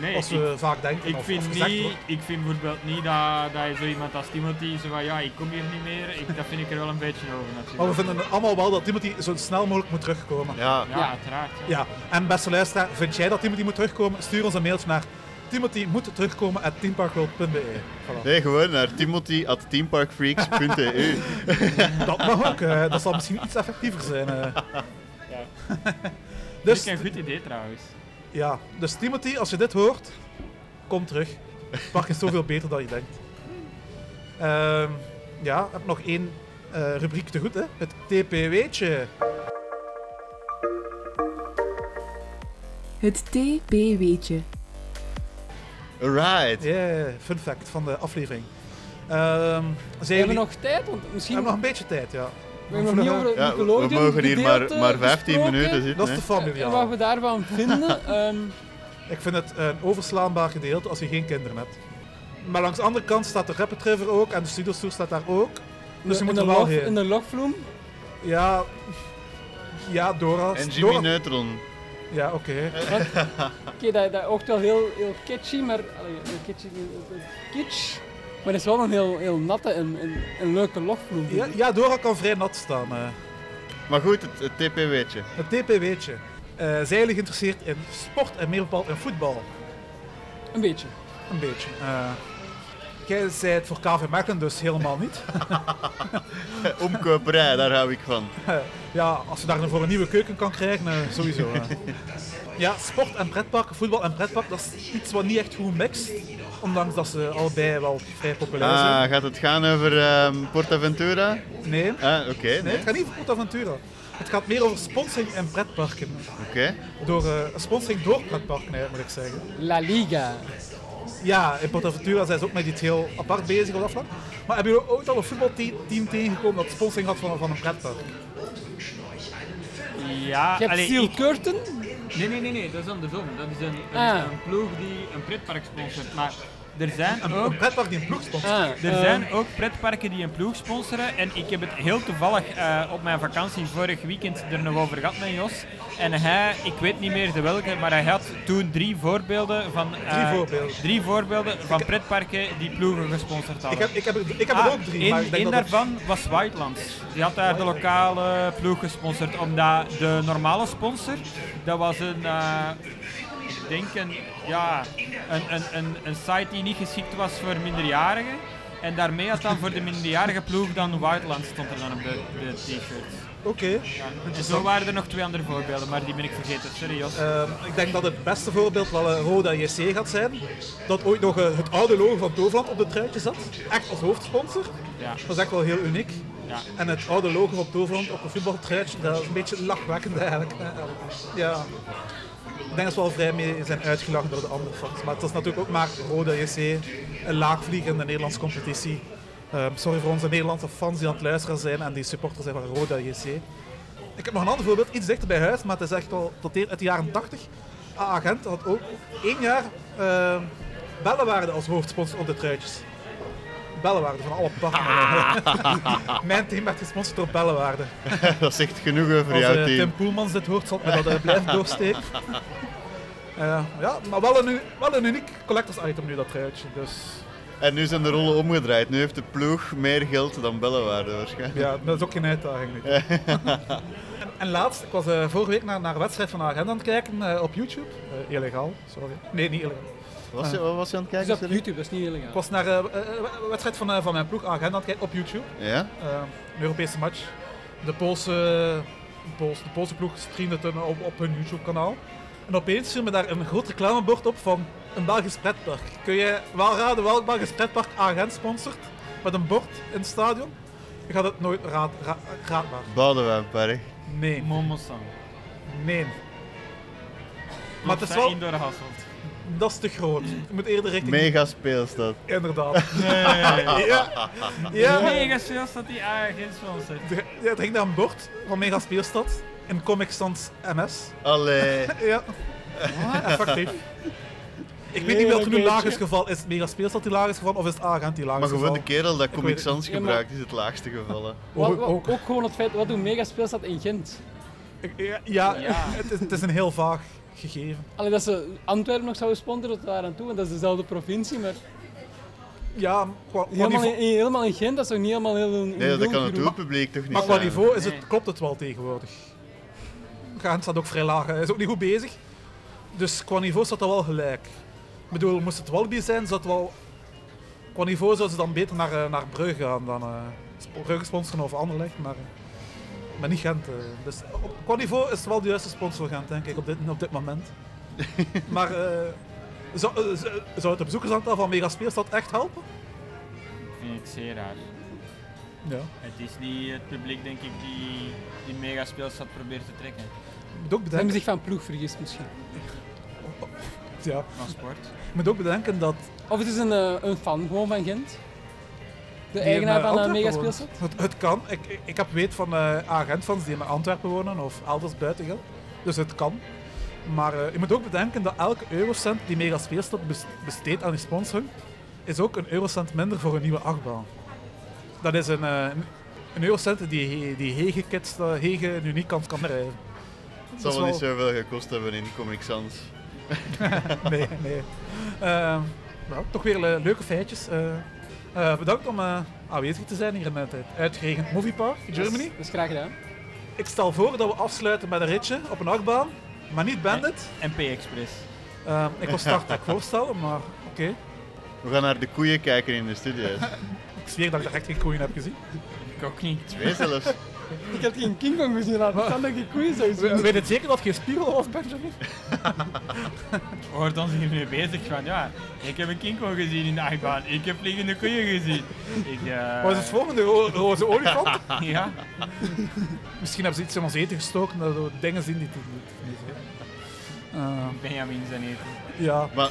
[SPEAKER 4] Nee,
[SPEAKER 2] als
[SPEAKER 4] ik-
[SPEAKER 2] we vaak denken.
[SPEAKER 4] Ik
[SPEAKER 2] of,
[SPEAKER 4] vind,
[SPEAKER 2] of gezegd
[SPEAKER 4] niet,
[SPEAKER 2] wordt.
[SPEAKER 4] ik vind bijvoorbeeld niet dat, dat je zo iemand als Timothy zo van ja, ik kom hier niet meer. Ik, dat vind ik er wel een beetje over natuurlijk.
[SPEAKER 2] Maar we vinden allemaal wel dat Timothy zo snel mogelijk moet terugkomen.
[SPEAKER 3] Ja.
[SPEAKER 4] ja,
[SPEAKER 5] Ja.
[SPEAKER 4] uiteraard. ja.
[SPEAKER 2] Ja, en beste luisteraar, vind jij dat Timothy moet terugkomen? Stuur ons een mailtje naar Timothy moet terugkomen at teamparkworld.be. e. Voilà.
[SPEAKER 3] Nee, gewoon naar timothy.teamparkfreaks.eu.
[SPEAKER 2] Dat mag ook, eh, dat zal misschien iets effectiever zijn. eh.
[SPEAKER 4] Dat
[SPEAKER 2] dus,
[SPEAKER 4] is een goed idee trouwens.
[SPEAKER 2] ja, dus Timothy, als je dit hoort, kom terug. Het park is zoveel beter dan je denkt. Ehm, ja, ik heb nog één eh, rubriek te goed, hè? het TPW'tje.
[SPEAKER 1] Het TPW'tje.
[SPEAKER 3] Right.
[SPEAKER 2] Yeah, fun fact van de aflevering. Ehm,
[SPEAKER 5] We
[SPEAKER 2] zijn
[SPEAKER 5] hebben
[SPEAKER 2] jullie...
[SPEAKER 5] nog tijd, want
[SPEAKER 2] we
[SPEAKER 5] misschien...
[SPEAKER 2] hebben nog een beetje tijd, ja.
[SPEAKER 5] we hebben nog niet over het
[SPEAKER 3] Ja, we
[SPEAKER 5] Nickelodeon
[SPEAKER 3] mogen hier maar,
[SPEAKER 5] gedeelte
[SPEAKER 3] maar 15
[SPEAKER 5] besproken.
[SPEAKER 3] minuten zitten.
[SPEAKER 2] eh, Dat is
[SPEAKER 3] hè.
[SPEAKER 2] te familiaal.
[SPEAKER 5] En wat we daarvan vinden. ehm,
[SPEAKER 2] Ik vind het een overslaanbaar gedeelte als je geen kinderen hebt. Maar langs de andere kant staat de Rapid River ook en de Studiostoer staat daar ook. Dus je
[SPEAKER 5] in
[SPEAKER 2] moet
[SPEAKER 5] de
[SPEAKER 2] er wel
[SPEAKER 5] lof- In
[SPEAKER 2] heen.
[SPEAKER 5] de logvloem.
[SPEAKER 2] Ja, ja, Dora.
[SPEAKER 3] En
[SPEAKER 2] Dora-
[SPEAKER 3] Jimmy Neutron.
[SPEAKER 2] Ja, oké.
[SPEAKER 5] Oké, dat, dat oogt wel heel, heel kitschy, maar... allee, heel kitschy, heel- heel kitsch. Maar het is wel een heel, heel natte en, en, en leuke logvloem.
[SPEAKER 2] Ja, ja, Dora kan vrij nat staan. eh.
[SPEAKER 3] Maar goed, het, het TPW'tje.
[SPEAKER 2] Het TPW'tje. Eh zijn jullie geïnteresseerd in sport en meer bepaald in voetbal?
[SPEAKER 5] Een beetje.
[SPEAKER 2] Een beetje. eh. jij zei het voor KV Mechelen, dus helemaal niet.
[SPEAKER 3] Omkoperij, daar hou ik van.
[SPEAKER 2] Ja, als je daarvoor een nieuwe keuken kan krijgen, eh, sowieso. eh. Ja, sport en pretpark, voetbal en pretpark, dat is iets wat niet echt goed mixt. Ondanks dat ze allebei wel vrij populair zijn.
[SPEAKER 3] Ah, gaat het gaan over ehm Portaventura?
[SPEAKER 2] Nee,
[SPEAKER 3] Ah, oké.
[SPEAKER 2] nee,
[SPEAKER 3] nee.
[SPEAKER 2] het gaat niet over PortAventura. Het gaat meer over sponsoring en pretparken.
[SPEAKER 3] Oké.
[SPEAKER 2] Door, eh, sponsoring door pretparken, eigenlijk, moet ik zeggen.
[SPEAKER 5] La Liga.
[SPEAKER 2] Ja, in PortAventura zijn ze ook met iets heel apart bezig op dat vlak. Maar hebben jullie ooit al een voetbalteam tegengekomen dat sponsoring had van, van een pretpark?
[SPEAKER 4] Ja,
[SPEAKER 5] Je hebt
[SPEAKER 4] allee,
[SPEAKER 5] Steel
[SPEAKER 4] ik-
[SPEAKER 5] Curtain.
[SPEAKER 4] nee, nee, nee, nee, dat is andersom. Dat is een, een,
[SPEAKER 5] Ah.
[SPEAKER 4] een ploeg die een pretpark sponsort. Maar er zijn ook
[SPEAKER 2] Een pretpark die een ploeg sponsort.
[SPEAKER 5] Ah,
[SPEAKER 4] Er
[SPEAKER 5] ehm,
[SPEAKER 4] zijn ook pretparken die een ploeg sponsoren. En ik heb het heel toevallig eh, op mijn vakantie vorig weekend er nog over gehad met Jos. En hij, ik weet niet meer de welke, maar hij had toen drie voorbeelden van, eh,
[SPEAKER 2] Drie voorbeelden.
[SPEAKER 4] drie voorbeelden van pretparken die ploegen gesponsord hadden.
[SPEAKER 2] Ik heb, ik heb, er- ik heb er
[SPEAKER 4] Ah,
[SPEAKER 2] ook drie,
[SPEAKER 4] één-
[SPEAKER 2] maar ik denk
[SPEAKER 4] één
[SPEAKER 2] dat het-
[SPEAKER 4] daarvan was Whitelands. Die had daar de lokale ploeg gesponsord, omdat de normale sponsor, dat was een, eh, ik denk een, ja, een, een, een, een site die niet geschikt was voor minderjarigen. En daarmee had dan voor de minderjarige ploeg dan Whitelands stond er dan op de, de t-shirt.
[SPEAKER 2] Oké.
[SPEAKER 4] En zo waren er nog twee andere voorbeelden, maar die ben ik vergeten. Sorry Jos.
[SPEAKER 2] Ehm, ik denk dat het beste voorbeeld wel een Roda JC gaat zijn. Dat ooit nog eh, het oude logo van Toverland op de truitje zat. Echt als hoofdsponsor.
[SPEAKER 4] Ja.
[SPEAKER 2] Dat is echt wel heel uniek.
[SPEAKER 4] Ja.
[SPEAKER 2] En het oude logo van Toverland op een voetbaltruitje, dat is een beetje lachwekkend eigenlijk. eh, Ja. Ik denk dat ze wel vrij mee zijn uitgelachen door de andere fans. Maar het is natuurlijk ook maar Roda JC, een laagvlieger in de Nederlandse competitie. Ehm, sorry voor onze Nederlandse fans die aan het luisteren zijn en die supporters zijn van Roda JC. Ik heb nog een ander voorbeeld, iets dichter bij huis, maar het is echt al dateert uit de jaren 80. A-agent had ook één jaar ehm Bellenwaarde als hoofdsponsor op de truitjes. Bellenwaarde van alle pakken. Mijn team werd gesponsord door Bellenwaarde.
[SPEAKER 3] dat zegt genoeg over
[SPEAKER 2] Als
[SPEAKER 3] jouw
[SPEAKER 2] eh,
[SPEAKER 3] team.
[SPEAKER 2] Tim Poelmans dit hoort, zal het me dat eh, blijven doorsteken. Eh, ja, maar wel een, u- wel een uniek collectors item nu, dat truitje. Dus
[SPEAKER 3] En nu zijn de rollen omgedraaid. Nu heeft de ploeg meer geld dan Bellewaarde waarschijnlijk.
[SPEAKER 2] ja, dat is ook geen uitdaging. nu. en, en laatst, ik was eh, vorige week naar, naar een wedstrijd van Agenda aan het kijken eh, op YouTube. Eh, illegaal, sorry. Nee, niet illegaal.
[SPEAKER 3] Was je, wat was je aan het kijken?
[SPEAKER 5] Dat is dus op
[SPEAKER 3] sorry?
[SPEAKER 5] YouTube, dat is niet illegaal.
[SPEAKER 2] Ik was naar eh, eh, een wedstrijd van, eh, van mijn ploeg Agenda aan het kijken op YouTube.
[SPEAKER 3] Ja?
[SPEAKER 2] Eh, een Europese match. De Poolse, Poolse, de Poolse ploeg streamde het eh, op, op hun YouTube-kanaal. En opeens viel me daar een groot reclamebord op van een Belgisch pretpark. Kun je wel raden welk Belgisch pretpark Agent sponsort? Met een bord in het stadion? Je gaat het nooit raad, ra- raadbaar.
[SPEAKER 3] Badenwijnpark.
[SPEAKER 2] Nee.
[SPEAKER 4] Momosan.
[SPEAKER 2] Nee. Maar het is wel...
[SPEAKER 4] Indoor Hasselt.
[SPEAKER 2] Dat is te groot. Je moet eerder richting...
[SPEAKER 3] Mega speelstad.
[SPEAKER 2] Inderdaad. ja.
[SPEAKER 4] Ja.
[SPEAKER 2] Ja.
[SPEAKER 4] Mega sales dat die agent ons heeft.
[SPEAKER 2] Er, ja, er hing daar een bord van Mega Speelstad. In Comic Sans MS.
[SPEAKER 3] Allee.
[SPEAKER 2] Ja. Ah, Effectief. Ik weet niet welke nu laag is gevallen. Is het Mega Speelstad die laag is gevallen of is het Agent die laag
[SPEAKER 3] Maar
[SPEAKER 2] is
[SPEAKER 3] gewoon de
[SPEAKER 2] gevallen?
[SPEAKER 3] kerel dat Comic
[SPEAKER 2] weet het
[SPEAKER 3] Sans
[SPEAKER 5] niet. Ja, maar-
[SPEAKER 3] gebruikt is het laagste gevallen.
[SPEAKER 5] Wa- wa- ook. gewoon het feit, wat doen megaspeelstad in Gent?
[SPEAKER 2] Ik- Ja, ja, Het, is, het is een heel vaag gegeven.
[SPEAKER 5] Alleen dat ze Antwerpen nog zouden sponsoren tot daar aan toe, want dat is dezelfde provincie, maar
[SPEAKER 2] Ja, qua, qua
[SPEAKER 5] helemaal in,
[SPEAKER 2] niveau,
[SPEAKER 5] in- helemaal in Gent, dat is toch niet helemaal heel een
[SPEAKER 3] Nee, dat kan het
[SPEAKER 5] doelgroep?
[SPEAKER 3] doelpubliek toch niet
[SPEAKER 2] maar qua
[SPEAKER 3] zijn?
[SPEAKER 2] niveau is
[SPEAKER 4] Nee.
[SPEAKER 2] het, klopt het wel tegenwoordig. Agent staat ook vrij laag. Hij is ook niet goed bezig. Dus qua niveau staat dat wel gelijk. Ik bedoel, moest het Wallaby zijn, zou het wel... Qua niveau zou ze dan beter naar, eh, naar Brugge gaan dan... eh, sp- Brugge sponsoren of Anderlecht, maar... eh, maar niet Gent. eh. Dus op, qua niveau is het wel de juiste sponsor Gent, denk ik, op dit, op dit moment. maar... eh, zou, eh, zou- zou het de bezoekersaantal van Megaspeelstad echt helpen?
[SPEAKER 4] Ik vind het zeer raar.
[SPEAKER 2] Ja.
[SPEAKER 4] Het is niet het publiek, denk ik, die, die mega speelstad probeert te trekken.
[SPEAKER 2] Moet ook
[SPEAKER 5] Ze hebben
[SPEAKER 2] bedenken...
[SPEAKER 5] zich van ploeg vergist misschien.
[SPEAKER 2] Ja.
[SPEAKER 4] Van sport.
[SPEAKER 2] Moet ook bedenken dat
[SPEAKER 5] Of het is een, eh, een fan gewoon van Gent. De
[SPEAKER 2] die
[SPEAKER 5] eigenaar
[SPEAKER 2] in, eh,
[SPEAKER 5] van een
[SPEAKER 2] Antwerpen
[SPEAKER 5] megaspeelstad.
[SPEAKER 2] woont. Het, het kan. Ik, ik- ik heb weet van eh agentfans die in Antwerpen wonen of elders buiten Gent. Dus het kan. Maar eh, je moet ook bedenken dat elke eurocent die Megaspeelstad bes- besteedt aan die sponsoring, is ook een eurocent minder voor een nieuwe achtbaan. Dat is een, eh, een- een eurocent die, he- die Hege Kids, eh, Hege en Uniek kan, kan rijden. Dat
[SPEAKER 3] Het zal
[SPEAKER 2] is
[SPEAKER 3] wel niet
[SPEAKER 2] wel-
[SPEAKER 3] zoveel gekost hebben in Comic Sans.
[SPEAKER 2] Nee, nee. Ehm, nou, toch weer le- leuke feitjes. Eh, eh, bedankt om eh, aanwezig te zijn hier in het uitgeregend Moviepark in Germany.
[SPEAKER 5] Dat is graag gedaan.
[SPEAKER 2] Ik stel voor dat we afsluiten met een ritje op een achtbaan, maar niet Bandit.
[SPEAKER 4] MP Express.
[SPEAKER 2] Ehm, ik was start dat voorstellen, maar oké.
[SPEAKER 3] We gaan naar de koeien kijken in de studio.
[SPEAKER 2] Ik zweer dat ik daar echt geen koeien heb gezien.
[SPEAKER 4] Ik ook niet.
[SPEAKER 3] Twee zelfs.
[SPEAKER 5] Ik heb geen King Kong gezien, dat kan dat ik koeien zou
[SPEAKER 2] We-
[SPEAKER 5] zien.
[SPEAKER 2] Weet het zeker dat geen spiegel was, Benjamin?
[SPEAKER 4] Hoort ons hiermee bezig van, ja, ik heb een kinko gezien in de achtbaan. Ik heb vliegende koeien gezien. Ik, eh,
[SPEAKER 2] Wat is het volgende? Ro- roze olifant?
[SPEAKER 4] Ja.
[SPEAKER 2] Misschien hebben ze iets in ons eten gestoken dat we dingen zien die het niet- niet zijn. Ehm,
[SPEAKER 4] Benjamin zijn eten.
[SPEAKER 2] ja,
[SPEAKER 3] Maar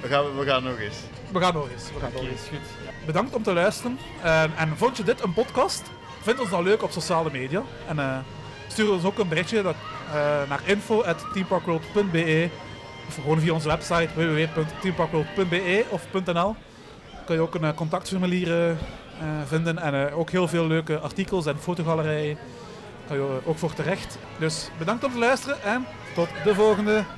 [SPEAKER 3] we gaan, we gaan nog eens.
[SPEAKER 2] we gaan nog eens. We gaan nog
[SPEAKER 4] Oké,
[SPEAKER 2] eens.
[SPEAKER 4] is goed.
[SPEAKER 2] Bedankt om te luisteren. Ehm, en vond je dit een podcast? Vind ons dan leuk op sociale media. En eh, stuur ons ook een berichtje dat, eh, naar info.teamparkworld.be of gewoon via onze website www.teamparkworld.be of .nl. Kun je ook een eh, contactformulier eh, eh, vinden en eh, ook heel veel leuke artikels en fotogalerijen. Kan je eh, ook voor terecht. Dus bedankt om te luisteren en tot de volgende.